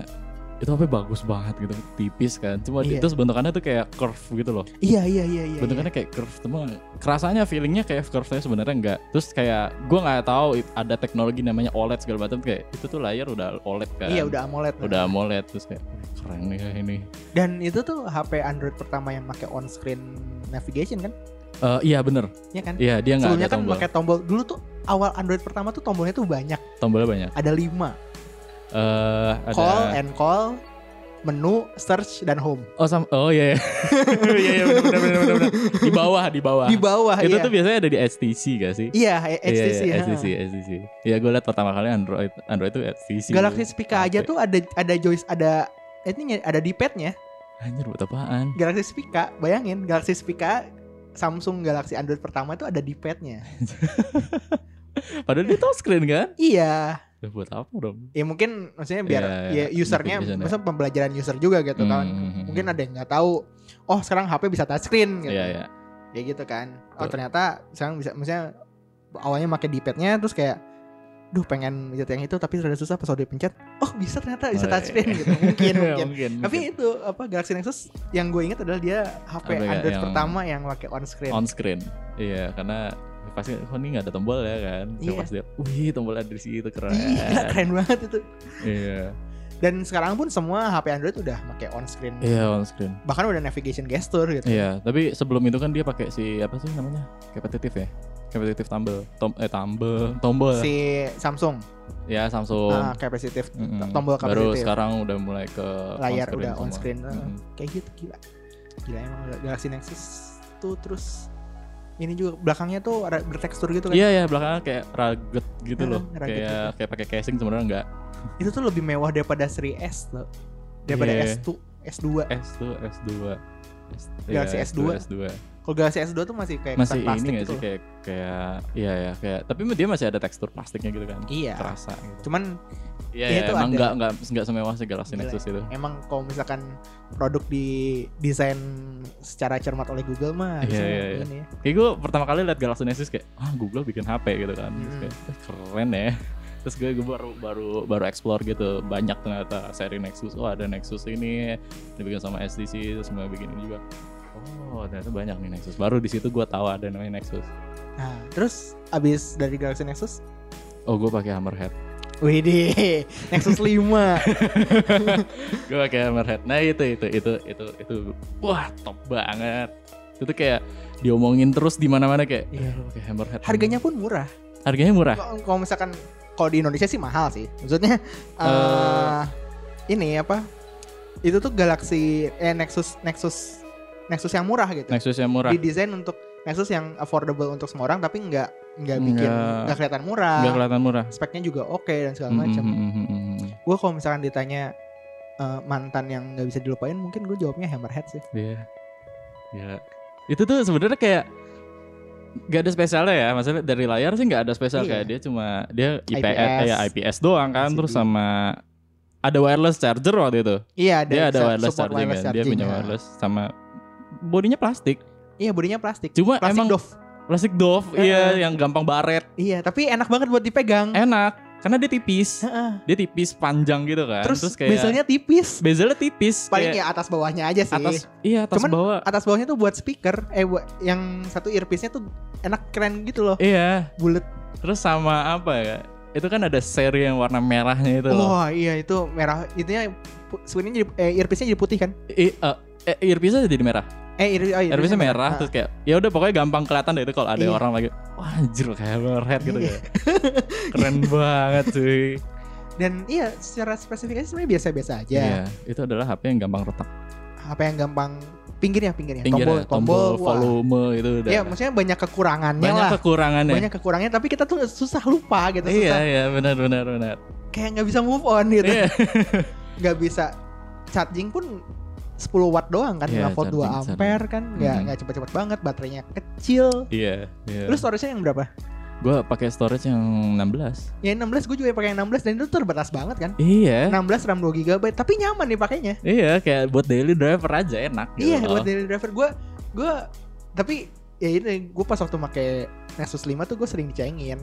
C: Itu HP bagus banget gitu, tipis kan. Cuma
B: Iya.
C: itu bentukannya tuh kayak curve gitu loh.
B: Iya iya iya iya. iya.
C: Bentukannya kayak curve, cuma kerasanya feelingnya kayak curve-nya sebenarnya enggak. Terus kayak gua nggak tahu it- ada teknologi namanya OLED segala macam kayak itu tuh layar udah OLED kan.
B: Iya udah AMOLED.
C: udah AMOLED terus kayak keren nih kayak ini.
B: Dan itu tuh HP Android pertama yang pakai on screen navigation kan?
C: Eh, iya bener
B: Iya kan?
C: Iya, dia nggak
B: Sebelumnya
C: ada
B: kan
C: tombol.
B: pakai tombol. Dulu tuh awal Android pertama tuh tombolnya tuh banyak,
C: Tombolnya banyak.
B: ada lima.
C: Eh, ada
B: call and call menu search dan home
C: Oh sam oh iya iya. iya iya benar benar benar benar. Di bawah di bawah.
B: di bawah
C: itu
B: iya.
C: tuh biasanya ada di HTC gak sih?
B: iya
C: Iya,
B: HTC
C: iya,
B: ya.
C: HTC, HTC. Iya, gue liat pertama kali Android Android itu HTC.
B: Galaxy Spica aja
C: Oke.
B: tuh ada ada joys ada eh, ini ada di padnya
C: Anjir buat apaan?
B: Galaxy Spica bayangin Galaxy Spica Samsung Galaxy Android pertama tuh ada di padnya
C: Padahal dia touchscreen kan?
B: iya
C: Lah, buat apa dong?
B: ya mungkin maksudnya biar
C: Iya, iya,
B: ya usernya
C: navigation ya.
B: maksudnya pembelajaran user juga gitu kan
C: Hmm.
B: mungkin ada yang nggak tahu oh sekarang HP bisa touchscreen gitu
C: Iya, iya.
B: kayak gitu kan oh
C: Betul.
B: ternyata sekarang bisa maksudnya awalnya pakai D-padnya terus kayak duh pengen pencet yang itu tapi rada susah pas udah dipencet oh bisa ternyata bisa
C: Oh, iya,
B: touchscreen
C: iya.
B: gitu mungkin mungkin
C: mungkin.
B: tapi itu apa Galaxy Nexus yang gue ingat adalah dia HP
C: Apa ya,
B: Android
C: yang-
B: pertama yang pakai on screen
C: on screen. Iya, karena pasti oh ini nggak ada tombol ya kan?
B: Iya.
C: Iya. Pas dia, wih tombol ada di situ keren.
B: Iya, keren banget itu
C: Iya,
B: dan sekarang pun semua HP Android udah pakai on screen
C: iya on screen.
B: bahkan udah navigation gesture gitu
C: Iya, tapi sebelum itu kan dia pakai si apa sih namanya? Kompetitif ya. Kompetitif tumble, Tom, eh tumble, tombol.
B: si Samsung
C: Ya Samsung.
B: ah, capacitive
C: Mm-mm.
B: tombol
C: Baru
B: capacitive
C: sekarang udah mulai ke
B: layar
C: on-screen
B: udah
C: semua.
B: on screen
C: Mm-mm.
B: kayak gitu gila gila emang Galaxy Nexus tuh terus ini juga belakangnya tuh ada bertekstur gitu kan
C: Iya ya belakangnya kayak raget gitu
B: Ah,
C: loh.
B: raget
C: kayak
B: gitu.
C: kayak pakai casing sebenarnya enggak.
B: itu tuh lebih mewah daripada seri S loh daripada
C: Iya.
B: S2 S2
C: S tuh S2. S,
B: Galaxy
C: iya,
B: S2.
C: S2.
B: Kalau Galaxy S2 tuh masih kayak kesan
C: masih
B: plastik
C: ini nggak
B: gitu
C: sih
B: loh.
C: kayak kayak iya ya kayak tapi dia masih ada tekstur plastiknya gitu kan
B: Iya.
C: kerasa gitu
B: Cuman
C: iya
B: Iya,
C: ya,
B: itu ada.
C: emang
B: Iya.
C: nggak nggak nggak semewah si Galaxy
B: Gila.
C: Nexus itu
B: emang kalau misalkan produk didesain secara cermat oleh Google mah
C: Iya,
B: harusnya
C: iya, iya.
B: ini.
C: kayak gue pertama kali liat Galaxy Nexus kayak ah Google bikin HP gitu kan terus
B: Mm.
C: kayak "Eh, keren ya terus gue, gue baru baru baru explore gitu banyak ternyata seri Nexus oh ada Nexus ini dibikin sama SDC terus mau bikin ini juga oh ternyata banyak nih Nexus baru di situ gue tahu ada namanya Nexus
B: Nah, terus abis dari Galaxy Nexus,
C: oh gue pakai Hammerhead
B: Widih, Nexus 5.
C: gue pakai Hammerhead nah itu itu itu itu itu wah top banget itu tuh kayak diomongin terus di mana mana kayak
B: Iya.
C: "Lu pakai Hammerhead
B: Harganya pun murah.
C: harganya murah
B: Kalau kalau misalkan kalau di Indonesia sih mahal sih. Maksudnya eh
C: Eh.
B: ini apa? Itu tuh Galaxy eh Nexus Nexus Nexus yang murah gitu.
C: Nexus yang murah
B: Didesain untuk Nexus yang affordable untuk semua orang tapi nggak nggak bikin
C: Nggak-
B: nggak kelihatan murah.
C: nggak kelihatan murah
B: Speknya juga oke dan segala
C: Mm,
B: macam.
C: mm, mm, mm, mm, mm.
B: Gue kalau misalkan ditanya eh, mantan yang nggak bisa dilupain mungkin gue jawabnya Hammerhead sih.
C: Iya. Gila. Itu tuh sebenarnya kayak gak ada spesialnya ya, maksudnya dari layar sih nggak ada spesial
B: Iya.
C: kayak dia cuma dia IPS,
B: IPS.
C: kayak IPS doang kan,
B: LCD.
C: terus sama ada wireless charger waktu itu.
B: Iya,
C: Dia ada
B: su-
C: wireless
B: support iya.
C: charging kan, dia punya
B: charging-nya.
C: wireless sama bodinya plastik.
B: Iya, bodinya plastik.
C: Cuma
B: Plastik
C: emang
B: Dove.
C: plastik Dove,
B: Eh.
C: iya yang gampang baret,
B: Iya, tapi enak banget buat dipegang.
C: enak karena dia tipis,
B: Hmm. Heeh.
C: dia tipis panjang gitu kan.
B: Terus,
C: Terus, kayak
B: bezelnya tipis.
C: bezelnya tipis,
B: Paling ya
C: kayak
B: atas bawahnya aja sih.
C: atas, iya atas
B: Cuman
C: bawah,
B: Atas bawahnya tuh buat speaker. Eh, buat- yang satu earpiece-nya tuh enak keren gitu loh.
C: iya.
B: Bulet.
C: Terus sama apa ya? Itu kan ada seri yang warna merahnya itu loh.
B: Wah, iya itu merah. Itunya pu- swing-nya jadi eh, earpiece-nya jadi putih kan?
C: I, eh, eh, earpiece-nya jadi merah.
B: Eh, ear- oh,
C: Earpiece-nya merah
B: Ah,
C: terus kayak ya udah pokoknya gampang kelihatan deh itu kalau ada
B: Iya.
C: orang lagi wah anjir kayak red gitu
B: Iya.
C: ya. Keren banget cuy.
B: Dan iya, secara spesifikasi sebenarnya biasa-biasa aja.
C: Iya, itu adalah HP yang gampang retak.
B: Iya, Apa yang gampang pinggirnya, pinggirnya.
C: Pinggirnya tombol,
B: wah.
C: volume itu udah.
B: Iya, maksudnya banyak kekurangannya
C: banyak
B: lah.
C: kekurangannya.
B: Banyak kekurangannya, tapi kita tuh susah lupa gitu.
C: iya,
B: Susah
C: iya, benar benar benar.
B: kayak nggak bisa move on gitu.
C: Iya.
B: nggak bisa charging pun 10 watt doang kan 5
C: Iya,
B: volt 2
C: charging,
B: ampere kan nggak
C: Mhm.
B: nggak cepet-cepet banget baterainya kecil
C: Iya, iya.
B: Terus storage-nya yang berapa?
C: gua pakai storage yang 16.
B: Ya 16 gue juga pakai 16 dan itu terbatas banget kan.
C: Iya.
B: 16 RAM 2 GB tapi nyaman nih pakainya.
C: Iya, kayak buat daily driver aja enak gitu.
B: Iya buat
C: loh.
B: daily driver gue gue tapi ya ini gue pas waktu pakai Nexus 5 tuh gue sering dicengin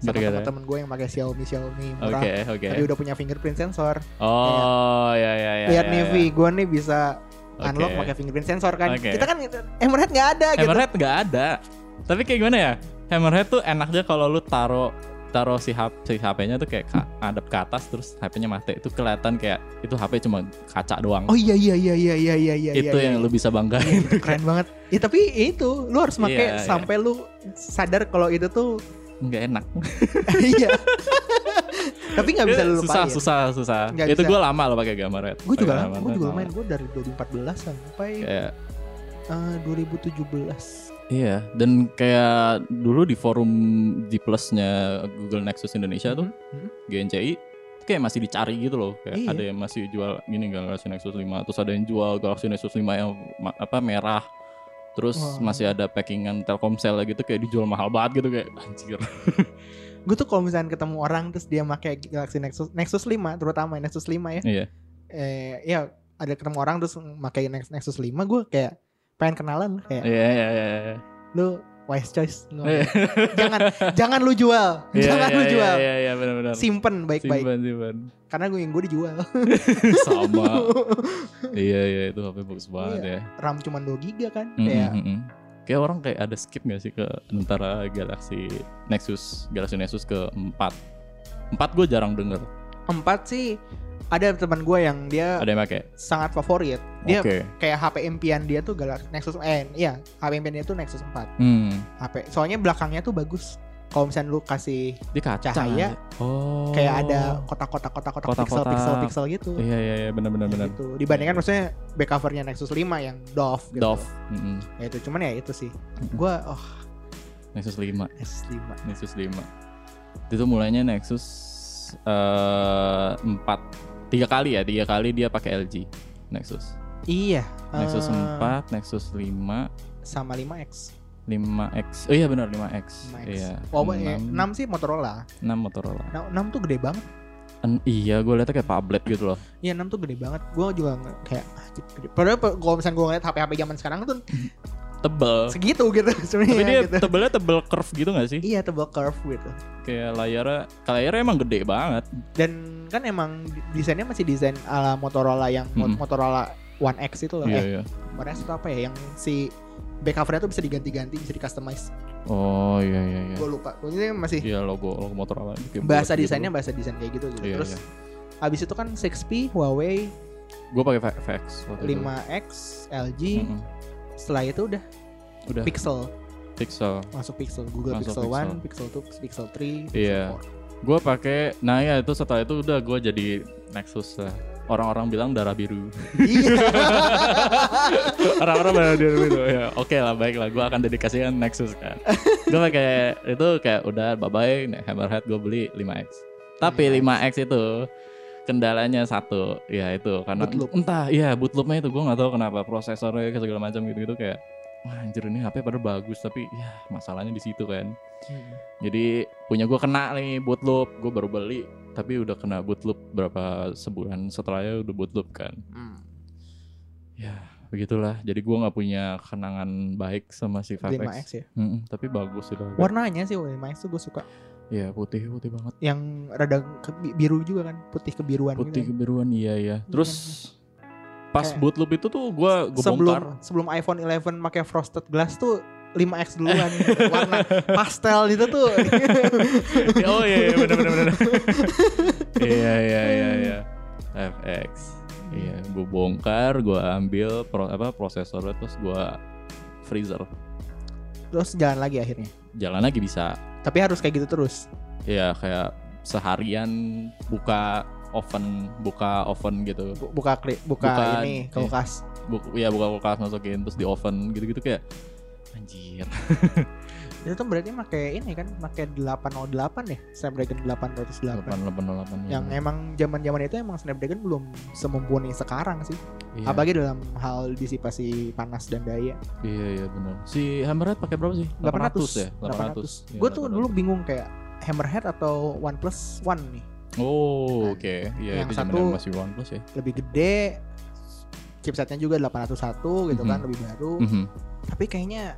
B: sama
C: Gara-gara?
B: teman-temen gue yang pakai Xiaomi Xiaomi murah.
C: Oke, oke.
B: Tapi udah punya fingerprint sensor.
C: Oh, ya ya ya.
B: Lihat
C: ya,
B: nih
C: ya.
B: Vi, gue nih bisa
C: Oke.
B: unlock pakai fingerprint sensor kan.
C: Oke.
B: Kita kan Emerald nggak ada gitu.
C: Hammerhead nggak ada. Tapi kayak gimana ya? Hammerhead tuh enaknya kalau lu taro taro si HP si HP-nya tuh kayak ka, adep ke atas terus HP-nya mati itu kelihatan kayak itu HP cuma kaca doang.
B: Oh iya iya iya iya iya iya iya.
C: itu
B: iya,
C: yang
B: iya.
C: lu bisa banggain.
B: keren banget. Ya tapi itu lu harus pakai
C: Iya, iya.
B: sampai lu sadar kalau itu tuh
C: Nggak enak.
B: iya. tapi nggak bisa lu
C: susah,
B: lupain.
C: susah, Iya, susah.
B: Nggak
C: itu
B: bisa.
C: gue lama loh pakai Hammerhead.
B: Gue juga
C: Pakai
B: lama, gue
C: Hammerhead
B: juga
C: lama.
B: main gue dari 2014 sampai
C: Kayak
B: eh, 2017.
C: Iya, dan kayak dulu di forum G Plus-nya Google Nexus Indonesia tuh,
B: Mhm.
C: GNCI, itu kayak masih dicari gitu loh. Kayak
B: Iya.
C: ada yang masih jual gini Galaxy Nexus 5, terus ada yang jual Galaxy Nexus 5 yang ma- apa merah. Terus
B: Wah.
C: masih ada packingan Telkomsel lah gitu kayak dijual mahal banget gitu kayak anjir.
B: Gue tuh kalau misalnya ketemu orang terus dia pakai Galaxy Nexus Nexus 5 terutama Nexus 5 ya.
C: Iya.
B: Eh ya ada ketemu orang terus pakai Nex- Nexus 5 gue kayak pengen kenalan kayak
C: Iya iya iya. iya.
B: lu wise choice. Lu-
C: Iya.
B: jangan jangan lu jual.
C: Iya,
B: jangan
C: iya,
B: lu jual.
C: Iya iya benar-benar.
B: Simpen baik-baik.
C: Simpan, simpan.
B: karena gue yang gue dijual
C: Sama. iya iya itu HP bagus banget ya.
B: RAM cuma 2 giga kan
C: Mm,
B: kayak
C: mm, mm. Kayak orang kayak ada skip gak sih ke antara Galaxy Nexus, Galaxy Nexus ke 4. 4 gue jarang denger
B: empat sih ada teman gue yang dia
C: ada yang pakai.
B: sangat favorit dia
C: Oke.
B: kayak HP impian dia tuh Galaxy Nexus eh iya HP impian dia tuh Nexus 4
C: Hmm,
B: HP soalnya belakangnya tuh bagus kalau misalnya lu kasih
C: dia kaca.
B: Cahaya,
C: Oh.
B: kan? kayak ada kotak-kotak kotak-kotak
C: Kotak-kotak.
B: pixel-pixel pixel gitu
C: Iya iya iya benar benar
B: Kayak
C: benar.
B: gitu. dibandingkan maksudnya back covernya Nexus 5 yang Dove gitu.
C: Dove. Mm, mm.
B: ya itu cuman ya itu sih gue oh
C: Nexus 5,
B: Nexus 5
C: Nexus 5. Itu mulainya Nexus eh 4 tiga kali ya, tiga kali dia pakai LG Nexus.
B: iya
C: Nexus
B: eh,
C: 4, Nexus 5,
B: sama 5X.
C: 5X. Oh iya benar 5X.
B: 5X.
C: Iya.
B: Walaupun ya,
C: 6,
B: 6 sih Motorola.
C: 6 Motorola.
B: 6, tuh gede banget.
C: En- iya, gue liatnya kayak pablet gitu loh.
B: Iya 6 tuh gede banget. Gue juga nge- kayak ah, anjir, gede. Padahal pe- kalau misalnya gue ngeliat HP-HP zaman sekarang tuh
C: Tebel.
B: segitu gitu
C: Tapi dia
B: sebenarnya gitu.
C: tebelnya tebel curve gitu gak sih?
B: Iya tebal curve gitu.
C: Kayak layarnya, kayak layarnya emang gede banget.
B: Dan kan emang desainnya masih desain ala Motorola yang Mo-
C: Mm-mm.
B: Motorola One X itu loh.
C: Iya,
B: Eh,
C: iya.
B: One X itu apa ya? Yang si back covernya tuh bisa diganti-ganti, bisa di customize.
C: Oh iya iya iya.
B: Gue lupa. Pokoknya masih
C: Iya logo logo Motorola. Kayak
B: bahasa
C: bulat gitu.
B: desainnya bahasa desain kayak gitu gitu.
C: Iya,
B: Terus
C: iya.
B: abis itu kan 6P, Huawei,
C: Gue pakai V- VX waktu itu.
B: 5X, LG.
C: Mm-mm.
B: Setelah itu udah
C: Udah
B: Pixel,
C: Pixel.
B: masuk Pixel, Google
C: Masuk
B: Pixel,
C: Pixel.
B: 1, Pixel 2, Pixel 3,
C: Iya.
B: Pixel
C: Gue pakai, nah ya itu setelah itu udah gue jadi Nexus lah. Orang-orang bilang darah biru.
B: 4. Iya.
C: Orang-orang pada dia gitu ya. Oke lah, baik lah. Gue akan dedikasikan Nexus kan. gue pakai itu kayak udah bye bye. Hammerhead gue beli 5x. Tapi 5x itu kendalanya satu, ya itu karena
B: Boot loop.
C: entah, ya boot loopnya itu gue nggak tahu kenapa prosesornya kayak segala macam gitu gitu kayak Wah anjir ini HP pada bagus tapi ya masalahnya di situ kan. Jadi punya gue kena nih boot loop, gue baru beli tapi udah kena boot loop berapa sebulan setelahnya udah boot loop kan.
B: Hmm.
C: begitulah jadi gua nggak punya kenangan baik sama si 5X,
B: 5X ya.
C: Mm-mm, tapi bagus sih War-
B: Warnanya sih 5X tuh gue suka.
C: ya putih putih banget
B: Yang rada ke- biru juga kan, putih kebiruan
C: putih
B: gitu.
C: kebiruan iya ya terus pas
B: Kayak-
C: boot loop itu tuh gua gua
B: sebelum
C: bongkar
B: sebelum iPhone 11 pakai frosted glass tuh 5X duluan warna pastel itu tuh.
C: oh iya iya benar benar benar iya iya iya iya 5X iya gua bongkar gua ambil pro- apa prosesornya terus gua freezer
B: Terus jalan lagi akhirnya.
C: jalan lagi bisa
B: Tapi harus kayak gitu terus.
C: ya kayak seharian buka oven buka oven gitu
B: Bu- Buka kli- buka,
C: Buka,
B: ini
C: iya.
B: kulkas.
C: Buk- ya buka kulkas masukin terus di oven gitu-gitu kayak anjir
B: Itu tuh berarti pakai ini kan, pakai 808 ya, Snapdragon 808.
C: 888
B: Yang emang zaman-zaman itu emang Snapdragon belum semumpuni sekarang sih.
C: iya,
B: Apalagi dalam hal disipasi panas dan daya.
C: iya iya benar si Hammerhead pakai berapa sih 800, ya 800, Iya,
B: Gue tuh
C: 800.
B: dulu bingung kayak Hammerhead atau OnePlus One nih.
C: oh oke iya
B: Yang
C: itu zaman
B: satu-
C: masih OnePlus ya
B: Lebih gede, chipsetnya juga 801 gitu kan,
C: Mhm.
B: lebih baru.
C: Mhm.
B: Tapi kayaknya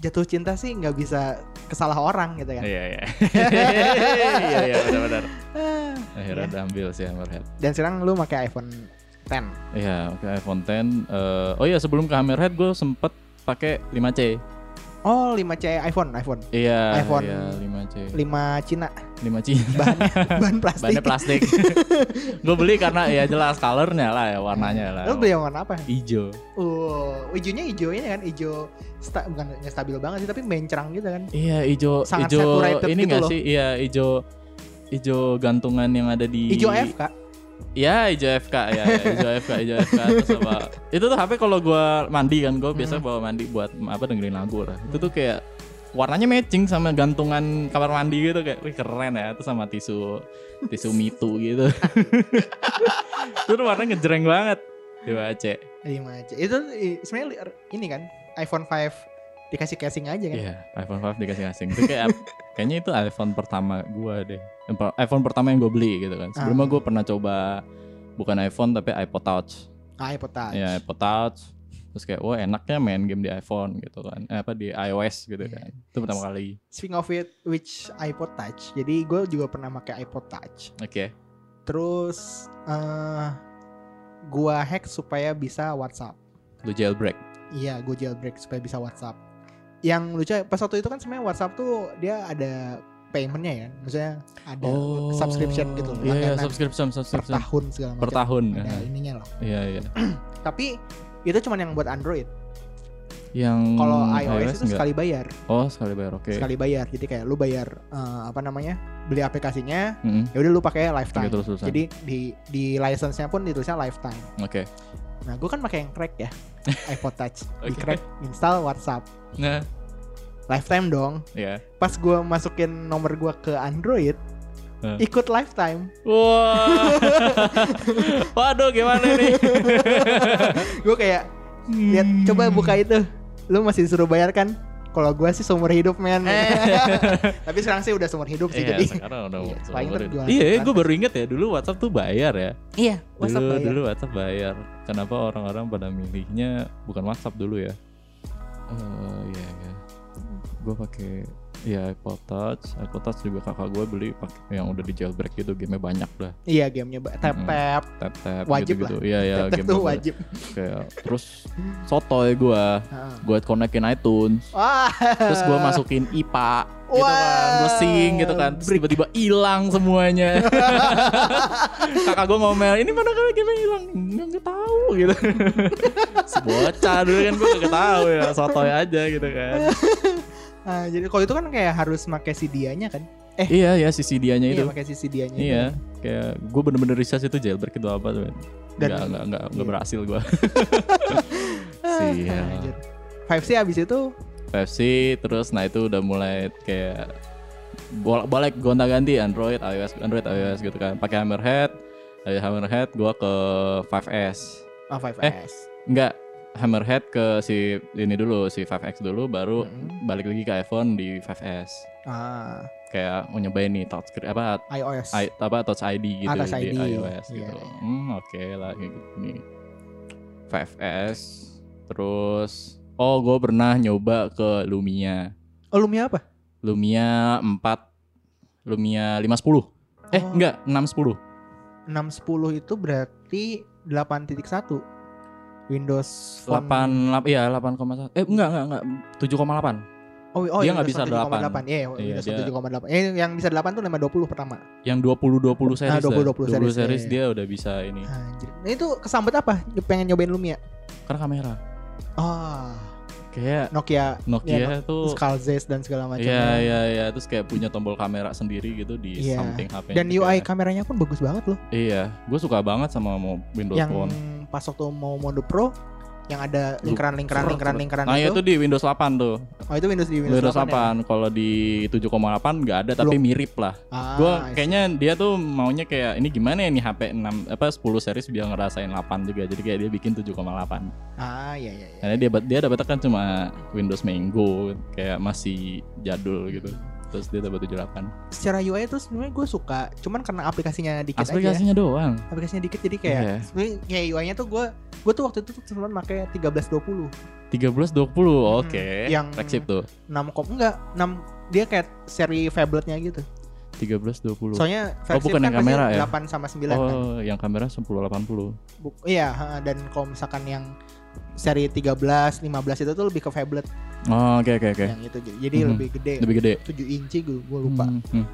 B: jatuh cinta sih nggak bisa kesalah orang gitu kan.
C: iya iya iya iya benar-benar
B: Ya.
C: akhirnya
B: Iya.
C: ada ambil si Hammerhead
B: Dan sekarang lu pakai iPhone 10.
C: iya oke iPhone 10 eh, oh iya sebelum ke Hammerhead gue sempet pakai 5C
B: Oh, 5C iPhone, iPhone.
C: iya
B: iPhone
C: iya 5C
B: 5 Cina,
C: 5C
B: bahannya bahan plastik.
C: bannya plastik gue beli karena ya jelas colornya lah ya warnanya lah
B: Lu beli yang warna apa?
C: hijau
B: Oh, hijaunya hijau ini kan, hijau sta, bukan nggak stabil banget sih, tapi mencerang gitu kan.
C: iya hijau
B: Sangat
C: hijau
B: saturated
C: ini
B: gitu
C: nggak
B: loh.
C: sih iya hijau hijau gantungan yang ada di
B: Hijau F, Kak.
C: ya hijau FK ya ya, hijau FK hijau FK terus apa itu tuh HP kalau gua mandi kan gua
B: Hmm.
C: biasa bawa mandi buat apa dengerin lagu lah itu tuh kayak warnanya matching sama gantungan kamar mandi gitu kayak wih keren ya itu sama tisu tisu mitu gitu itu tuh warnanya ngejreng banget coba cek
B: 5C. Itu i- sebenarnya li- ini kan iPhone 5 dikasih casing aja kan.
C: Iya, iPhone 5 dikasih asing. Itu kayak kayaknya itu iPhone pertama gua deh. Yang per- iPhone pertama yang gue beli gitu kan. Sebelumnya
B: Ah.
C: gua pernah coba bukan iPhone tapi iPod Touch.
B: Ah, iPod Touch.
C: Ya iPod Touch. Terus kayak wah enaknya main game di iPhone gitu kan. Eh, apa di iOS gitu
B: Iya.
C: kan. Itu pertama kali.
B: Speaking of it, which iPod Touch. Jadi gue juga pernah pakai iPod Touch.
C: Oke.
B: Terus eh gua hack supaya bisa WhatsApp.
C: Lu jailbreak.
B: Iya, gue jailbreak supaya bisa WhatsApp. Yang lucu pas waktu itu kan sebenarnya WhatsApp tuh dia ada paymentnya ya, maksudnya ada subscription gitu loh,
C: Oh, Iya, iya,
B: langganan
C: subscription
B: per
C: subscription per,
B: tahun segala macam.
C: tahun.
B: Ada
C: Iya,
B: ininya loh.
C: Iya, iya.
B: Tapi itu cuma yang buat Android.
C: Yang
B: Kalau iOS, itu
C: Hmm, enggak.
B: sekali bayar,
C: Oh, sekali bayar. Oke.
B: sekali bayar. Jadi kayak lu bayar eh, apa namanya? beli aplikasinya,
C: Mm-mm.
B: ya udah lu pakai
C: Pakai
B: lifetime.
C: terus-terusan.
B: Jadi di di license-nya pun ditulisnya lifetime.
C: Oke.
B: Nah, gue kan pakai yang crack ya. iPod Touch. Di
C: Oke.
B: crack install WhatsApp.
C: Nah,
B: Lifetime dong.
C: ya.
B: pas gue masukin nomor gue ke Android
C: Hah.
B: ikut lifetime
C: Wah, waduh gimana nih? Hmm.
B: gue kayak lihat coba buka itu Lu masih disuruh bayar kan? Kalau gua sih seumur hidup men.
C: Eh.
B: Tapi sekarang sih udah seumur hidup sih
C: Iya,
B: jadi.
C: sekarang udah
B: Iya,
C: seumur
B: paling
C: hidup.
B: terjual
C: Iya,
B: sekarang.
C: gue baru inget ya dulu WhatsApp tuh bayar ya.
B: Iya,
C: Dulu,
B: WhatsApp bayar.
C: dulu WhatsApp bayar. Kenapa orang-orang pada milihnya bukan WhatsApp dulu ya? Eh, iya, iya. Gue pakai ya iPod Touch. iPod Touch juga kakak gue beli pakai yang udah di jailbreak gitu. Game-nya banyak dah.
B: Iya, gamenya ba- tap
C: Mm-mm.
B: tap.
C: Tap tap
B: Wajib
C: gitu, -gitu. Iya, Hmm. iya,
B: tap tap
C: game
B: tuh
C: gue
B: wajib.
C: kayak terus sotoy gue.
B: Heeh.
C: Gue konekin iTunes.
B: Wah.
C: terus gue masukin IPA
B: Eh.
C: gitu kan
B: Wah.
C: gue sing gitu kan terus tiba-tiba hilang semuanya kakak gue ngomel ini mana kali game hilang nggak nggak tahu gitu Si bocah dulu kan gue nggak tahu ya sotoy aja gitu kan
B: Ah, jadi kalau itu kan kayak harus pakai CD-nya kan?
C: iya ya sisi dianya itu
B: Iya, pakai CD-nya.
C: iya kayak gue bener-bener research itu jailbreak itu apa tuh
B: Dan-
C: nggak nggak nggak nggak
B: iya.
C: berhasil gue
B: Ah,
C: Sial.
B: anjir. 5C abis itu
C: PFC terus nah itu udah mulai kayak bolak-balik gonta-ganti Android, iOS, Android, iOS gitu kan. Pakai Hammerhead, dari Hammerhead gua ke 5S.
B: oh,
C: Eh?
B: 5S.
C: Enggak, Hammerhead ke si ini dulu, si 5X dulu baru
B: Mm-mm.
C: balik lagi ke iPhone di 5S.
B: Ah,
C: Kayak mau nyobain nih touch screen apa
B: iOS.
C: I, apa touch ID gitu
B: Atas ID,
C: di iOS
B: iya,
C: gitu.
B: iya.
C: Hmm, oke lah kayak gitu nih. 5S terus oh gue pernah nyoba ke Lumia.
B: oh, Lumia apa?
C: Lumia 4 Lumia 510 Eh
B: Oh.
C: enggak 610
B: 610 itu berarti 8.1. Windows Phone-
C: 8 lap- Iya 8,1 Eh enggak enggak enggak 7,8
B: Oh, oh
C: Dia
B: yang
C: nggak bisa
B: 7,8. Iya,
C: Iya,
B: Windows
C: dia-
B: 7,8. Eh, yang bisa 8 tuh 520 pertama.
C: Yang 20-20 series
B: Ah, 20-20
C: dah. 20
B: series,
C: series
B: iya,
C: dia udah bisa ini
B: Anjir. Nah, itu kesambet apa? Pengen nyobain Lumia?
C: Karena kamera
B: Ah,
C: Kayak
B: Nokia
C: Nokia tuh
B: Skull Zest dan segala Iya, macam. ya.
C: Iya iya iya Terus kayak punya tombol kamera sendiri gitu Di
B: Iya.
C: samping HP
B: Dan UI kameranya pun bagus banget loh.
C: Iya Gue suka banget sama mau Windows
B: yang
C: Phone
B: pas waktu mau mode pro yang ada lingkaran-lingkaran
C: Serut,
B: lingkaran-lingkaran
C: Nah itu di Windows 8 tuh
B: Oh, itu Windows di Windows,
C: Windows
B: 8. ya?
C: 8 Kalau di 7,8 nggak ada Tapi mirip lah
B: Ah,
C: gue
B: I see.
C: kayaknya dia tuh maunya kayak ini gimana ya nih HP 6 apa 10 series biar ngerasain 8 juga jadi kayak dia bikin 7,8
B: Ah, iya iya iya.
C: karena dia dapat dia dapatnya kan cuma Windows Mango kayak masih jadul gitu terus dia dapat 78
B: Secara UI itu sebenarnya gue suka, cuman karena aplikasinya dikit aja.
C: aplikasinya doang
B: ya. Aplikasinya dikit jadi kayak
C: Iya.
B: sebenarnya kayak UI-nya tuh gue gue tuh waktu itu tuh cuma pakai 1320
C: 1320 oke
B: Hmm, yang-
C: flagship tuh
B: 6 kom enggak 6 dia kayak seri phabletnya gitu.
C: 1320
B: Soalnya flagship
C: bukan yang
B: pasti
C: kamera ya?
B: 8 sama 9 kan.
C: oh yang kamera 1080
B: Buk- iya, ha, dan kalau misalkan yang seri 13, 15 itu tuh lebih ke phablet
C: oh oke oke oke
B: yang itu jadi, jadi
C: Mhm.
B: lebih gede.
C: lebih gede
B: 7 inci gue, gue Iya. lupa.
C: Hmm, hmm.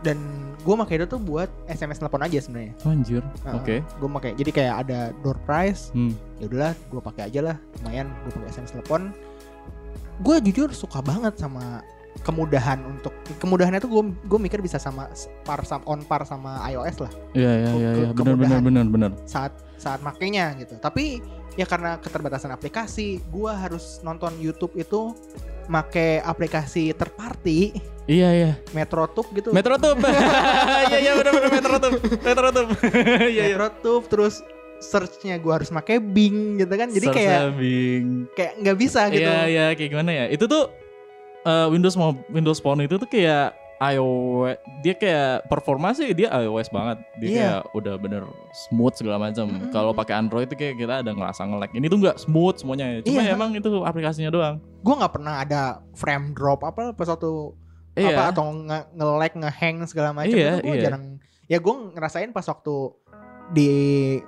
B: dan gue pakai itu tuh buat SMS telepon aja sebenarnya.
C: Oh, anjir
B: Nah,
C: oke
B: Gue pakai jadi kayak ada door prize.
C: Hmm.
B: Ya udahlah, gue pakai aja lah. Lumayan gue pakai SMS telepon. Gue jujur suka banget sama kemudahan untuk kemudahannya tuh gue gue mikir bisa sama par sama on par sama iOS lah
C: iya iya iya iya.
B: Oh, Ke-
C: benar benar
B: kemudahan.
C: benar benar
B: saat saat makainya gitu. Tapi ya karena keterbatasan aplikasi, gue harus nonton YouTube itu make aplikasi terparty
C: iya iya
B: MetroTube gitu.
C: Metrotub. Iya iya benar benar Metrotub. Metrotub. Iya iya.
B: MetroTube terus searchnya gue harus pakai Bing gitu kan jadi kayak
C: Sersabing.
B: kayak nggak bisa gitu
C: Iya iya kayak gimana ya? Itu tuh eh, Windows mau Windows Phone itu tuh kayak iOS dia kayak performa sih dia iOS banget dia
B: Iya.
C: kayak udah bener smooth segala macam
B: Mm-mm.
C: kalau pakai Android tuh kayak kita ada ngerasa nge-lag ini tuh nggak smooth semuanya ya, cuma
B: Iya.
C: emang itu aplikasinya doang
B: gue nggak pernah ada frame drop apa pas waktu apa
C: iya
B: atau nge nge-lag nge-hang segala macam itu
C: Iya,
B: gue
C: iya.
B: jarang ya gue ngerasain pas waktu di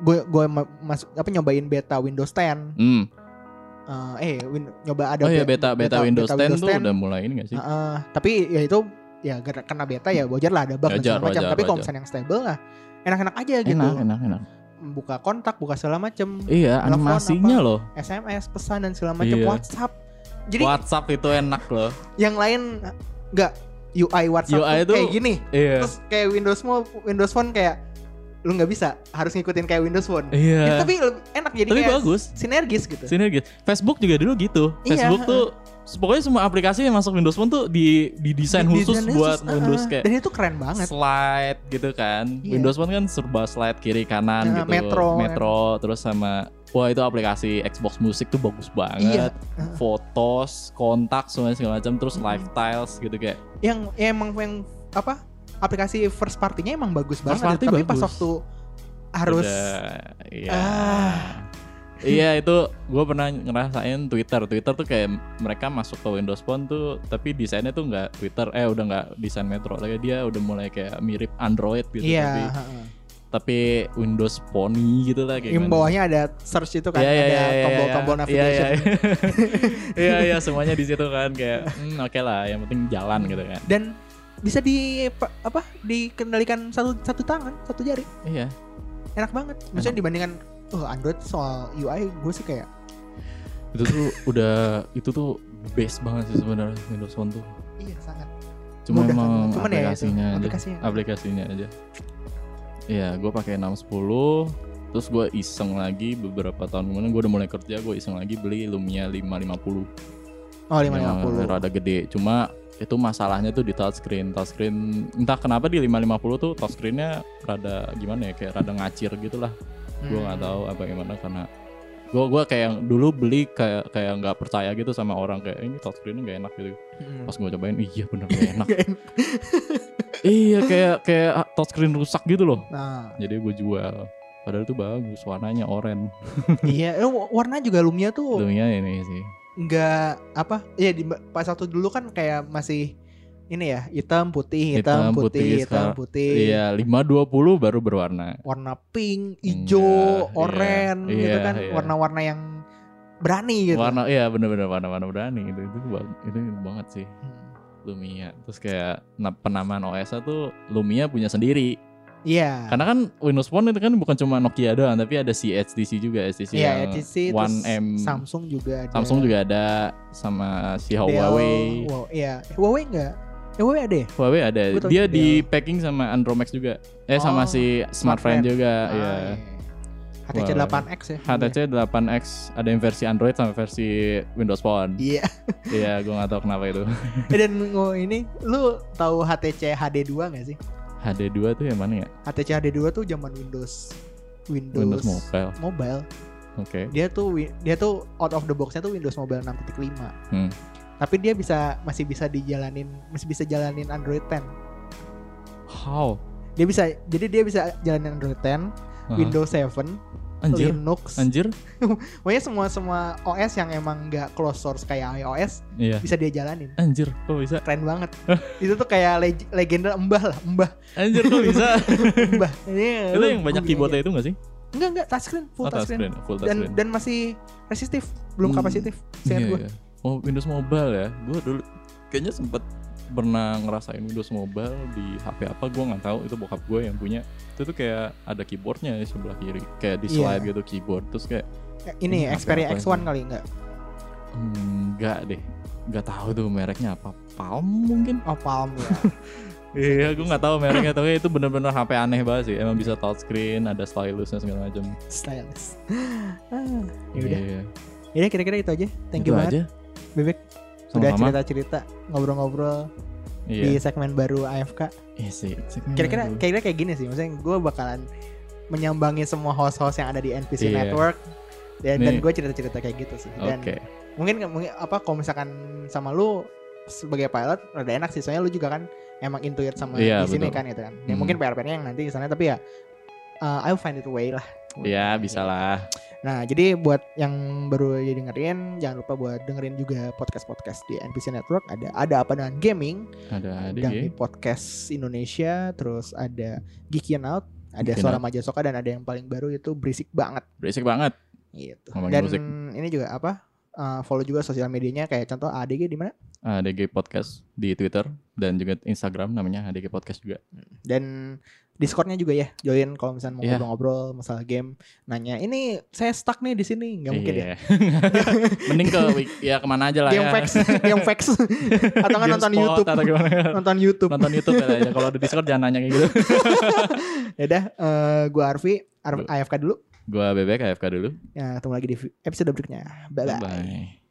B: gue gue masuk apa nyobain beta Windows 10
C: hmm.
B: Eh, eh win- nyoba ada
C: oh iya
B: be-
C: beta beta, Windows 10 tuh
B: 10.
C: udah mulai ini gak sih
B: Heeh, tapi ya itu ya gara- karena beta ya wajar lah ada bug dan
C: Wajar,
B: segala macam
C: wajar,
B: tapi kalau
C: wajar.
B: misalnya yang stable lah enak-enak aja gitu
C: enak enak enak
B: buka kontak buka segala macam
C: iya
B: Telepon
C: animasinya loh
B: SMS pesan dan segala macam
C: Iya.
B: WhatsApp. Jadi
C: WhatsApp itu enak loh
B: yang lain nggak UI WhatsApp
C: UI
B: tuh kayak
C: tuh-
B: gini.
C: iya
B: Terus kayak Windows mo- Windows Phone kayak lu nggak bisa harus ngikutin kayak Windows Phone.
C: Iya.
B: Gitu, tapi lebih enak jadi
C: Tapi
B: kayak
C: bagus.
B: sinergis gitu.
C: Sinergis. Facebook juga dulu gitu.
B: Iya,
C: Facebook
B: heeh.
C: tuh pokoknya semua aplikasi yang masuk Windows Phone tuh di didesain
B: Di-
C: khusus
B: desainnya
C: buat
B: khusus, ah,
C: Windows
B: ah.
C: kayak
B: dan itu keren banget.
C: slide gitu kan.
B: Iya.
C: Windows Phone kan serba slide kiri kanan
B: Nah,
C: gitu.
B: Metro kan.
C: Metro terus sama Wah itu aplikasi Xbox Music tuh bagus
B: Iya.
C: banget. Fotos, kontak, semuanya segala macam. Terus live tiles gitu kayak.
B: yang ya emang yang apa aplikasi first partinya emang bagus
C: First
B: banget
C: party
B: tapi pas
C: bagus.
B: waktu harus
C: udah, Iya.
B: Ah.
C: Iya itu gue pernah ngerasain Twitter. Twitter tuh kayak mereka masuk ke Windows Phone tuh, tapi desainnya tuh nggak Twitter. Eh udah nggak desain Metro lagi dia udah mulai kayak mirip Android gitu.
B: iya
C: Tapi,
B: heeh.
C: tapi Windows Pony gitu lah kayak.
B: yang
C: gimana.
B: bawahnya ada search itu kan
C: Iya, iya,
B: ada
C: iya, iya,
B: tombol-tombol
C: iya,
B: navigation
C: Iya iya. Iya iya semuanya di situ kan kayak hmm, oke lah yang penting jalan gitu kan.
B: dan bisa di pa- apa dikendalikan satu satu tangan satu jari
C: Iya.
B: enak banget maksudnya dibandingkan oh Android soal UI gue sih kayak
C: Itu tuh udah itu tuh base banget sih sebenarnya Windows Phone tuh.
B: iya sangat
C: Cuma
B: mudah
C: emang
B: banget. Cuman ya itu,
C: aplikasinya aja.
B: aplikasinya.
C: Aplikasinya aja. Iya, gue pakai 610 terus gue iseng lagi beberapa tahun kemudian gue udah mulai kerja gue iseng lagi beli Lumia 550
B: oh
C: Iya, Yang
B: 550
C: rada gede cuma itu masalahnya tuh di touchscreen touchscreen entah kenapa di 550 tuh touchscreennya rada gimana ya kayak rada ngacir gitu lah gue
B: Hmm.
C: nggak tahu apa gimana karena gue gua kayak dulu beli kayak kayak nggak percaya gitu sama orang kayak "Eh, ini touchscreen nggak enak gitu
B: Hmm.
C: pas gue cobain iya bener nggak enak iya kayak kayak touchscreen rusak gitu loh
B: nah
C: jadi gue jual padahal itu bagus warnanya oranye
B: iya eh, wa- warna juga Lumia tuh
C: dunia ini sih
B: nggak apa ya di pas waktu dulu kan kayak masih ini ya hitam putih hitam,
C: Hitam,
B: putih,
C: putih,
B: hitam
C: sekarang-
B: putih
C: iya 520 baru berwarna
B: warna pink
C: Iya,
B: hijau
C: iya,
B: oranye gitu
C: iya,
B: kan
C: iya.
B: warna-warna yang berani gitu
C: warna iya bener-bener warna-warna berani gitu. itu itu bang- itu banget sih
B: Hmm.
C: Lumia terus kayak na- penamaan OS -nya tuh Lumia punya sendiri
B: iya
C: karena kan Windows Phone itu kan bukan cuma Nokia doang tapi ada si HTC juga HTC
B: iya
C: yang
B: HTC, terus
C: 1M
B: Samsung juga ada
C: Samsung juga ada sama si
B: Dell,
C: Huawei
B: Wow, iya Eh, Huawei enggak eh, Huawei ada ya
C: Huawei ada
B: Gua tau
C: dia
B: si
C: di packing sama Andromax juga eh
B: Oh,
C: sama si
B: Smartfren.
C: Smartfren juga
B: Ah,
C: ya
B: iya. HTC
C: Huawei.
B: 8X ya
C: HTC 8X ada yang versi Android sama versi Windows Phone
B: iya
C: iya gue nggak tahu kenapa itu
B: Eh, dan oh, ini lu tahu HTC HD2 nggak sih
C: HD2 tuh yang mana ya
B: HTC HD2 tuh zaman Windows Windows,
C: Windows Mobile
B: mobile.
C: oke
B: Dia tuh wi- dia tuh out of the box-nya tuh Windows Mobile 6.5.
C: Hmm.
B: Tapi dia bisa masih bisa dijalanin masih bisa jalanin Android 10.
C: How?
B: Dia bisa jadi dia bisa jalanin Android 10,
C: Hah?
B: Windows 7,
C: anjir,
B: Linux.
C: anjir.
B: Pokoknya semua semua OS yang emang nggak closed source kayak iOS
C: Iya.
B: bisa dia jalanin.
C: Anjir, kok bisa?
B: Keren banget. Itu tuh kayak leg- legenda embah lah, embah,
C: Anjir kok bisa?
B: embah. Ini
C: itu
B: lu
C: yang
B: googling aja.
C: banyak keyboardnya itu gak sih?
B: Enggak, enggak, touchscreen, full
C: Oh,
B: touchscreen.
C: touchscreen, full
B: Dan
C: touchscreen.
B: dan masih resistif, belum
C: Hmm.
B: kapasitif. Seingat
C: Iya,
B: gue.
C: iya. Oh, Windows Mobile ya. Gue dulu kayaknya sempet pernah ngerasain Windows Mobile di HP apa gue nggak tahu itu bokap gue yang punya itu tuh kayak ada keyboardnya di sebelah kiri kayak di
B: Iya.
C: slide gitu keyboard terus kayak
B: Eh, ini
C: Hmm,
B: Xperia
C: apa-apa
B: X1
C: itu.
B: kali enggak?
C: enggak deh nggak tahu tuh mereknya apa Palm mungkin
B: Oh Palm ya.
C: Iya, gue nggak tahu mereknya, tapi itu bener-bener HP aneh banget sih. Emang bisa touchscreen, ada stylusnya segala macam.
B: Stylus. Ah, ya udah.
C: Iya.
B: Ya udah kira-kira itu aja. Thank
C: Itu
B: you banget
C: aja.
B: Bebek sudah
C: Sama-sama.
B: cerita-cerita, ngobrol-ngobrol
C: Iya.
B: di segmen baru AFK.
C: Iya sih.
B: Kira-kira kira-kira kayak gini sih, maksudnya gue bakalan menyambangi semua host-host yang ada di NPC
C: Iya.
B: Network dan, dan
C: Nih.
B: gue cerita-cerita kayak gitu sih. Dan
C: Oke.
B: mungkin mungkin apa kalau misalkan sama lu sebagai pilot rada enak sih soalnya lu juga kan emang intuit sama
C: Iya,
B: di sini
C: betul.
B: kan gitu kan ya
C: Hmm.
B: mungkin PR-nya yang nanti di sana tapi ya uh, I'll find it a way lah
C: Ya bisa lah.
B: Nah, jadi buat yang baru aja dengerin, jangan lupa buat dengerin juga podcast-podcast di NPC Network. Ada ada apa dengan gaming,
C: Ada
B: ada di
C: adik. ya.
B: podcast Indonesia, terus ada Geekian Out, ada
C: Geekin
B: suara Majasoka dan ada yang paling baru itu berisik banget
C: Berisik banget.
B: gitu.
C: Ngomongin
B: Dan
C: musik.
B: ini juga apa? eh, follow juga sosial medianya kayak contoh ADG di mana?
C: ADG Podcast di Twitter dan juga Instagram namanya ADG Podcast juga.
B: Dan Discordnya juga ya, join kalau misalnya mau
C: Iya.
B: ngobrol-ngobrol masalah game, nanya ini saya stuck nih di sini, nggak mungkin ya.
C: Iya. Mending ke wik- ya kemana aja lah
B: Game
C: ya.
B: facts, game facts, atau nggak nonton
C: Gamespot
B: YouTube,
C: atau gimana.
B: nonton YouTube.
C: nonton YouTube ya aja. Kalau di Discord jangan nanya kayak gitu.
B: Yaudah, eh gue Arfi, Ar-
C: Gua-
B: AFK dulu.
C: Gua Bebek AFK dulu.
B: Ya, ketemu lagi di episode berikutnya. Bye-bye.
C: Bye.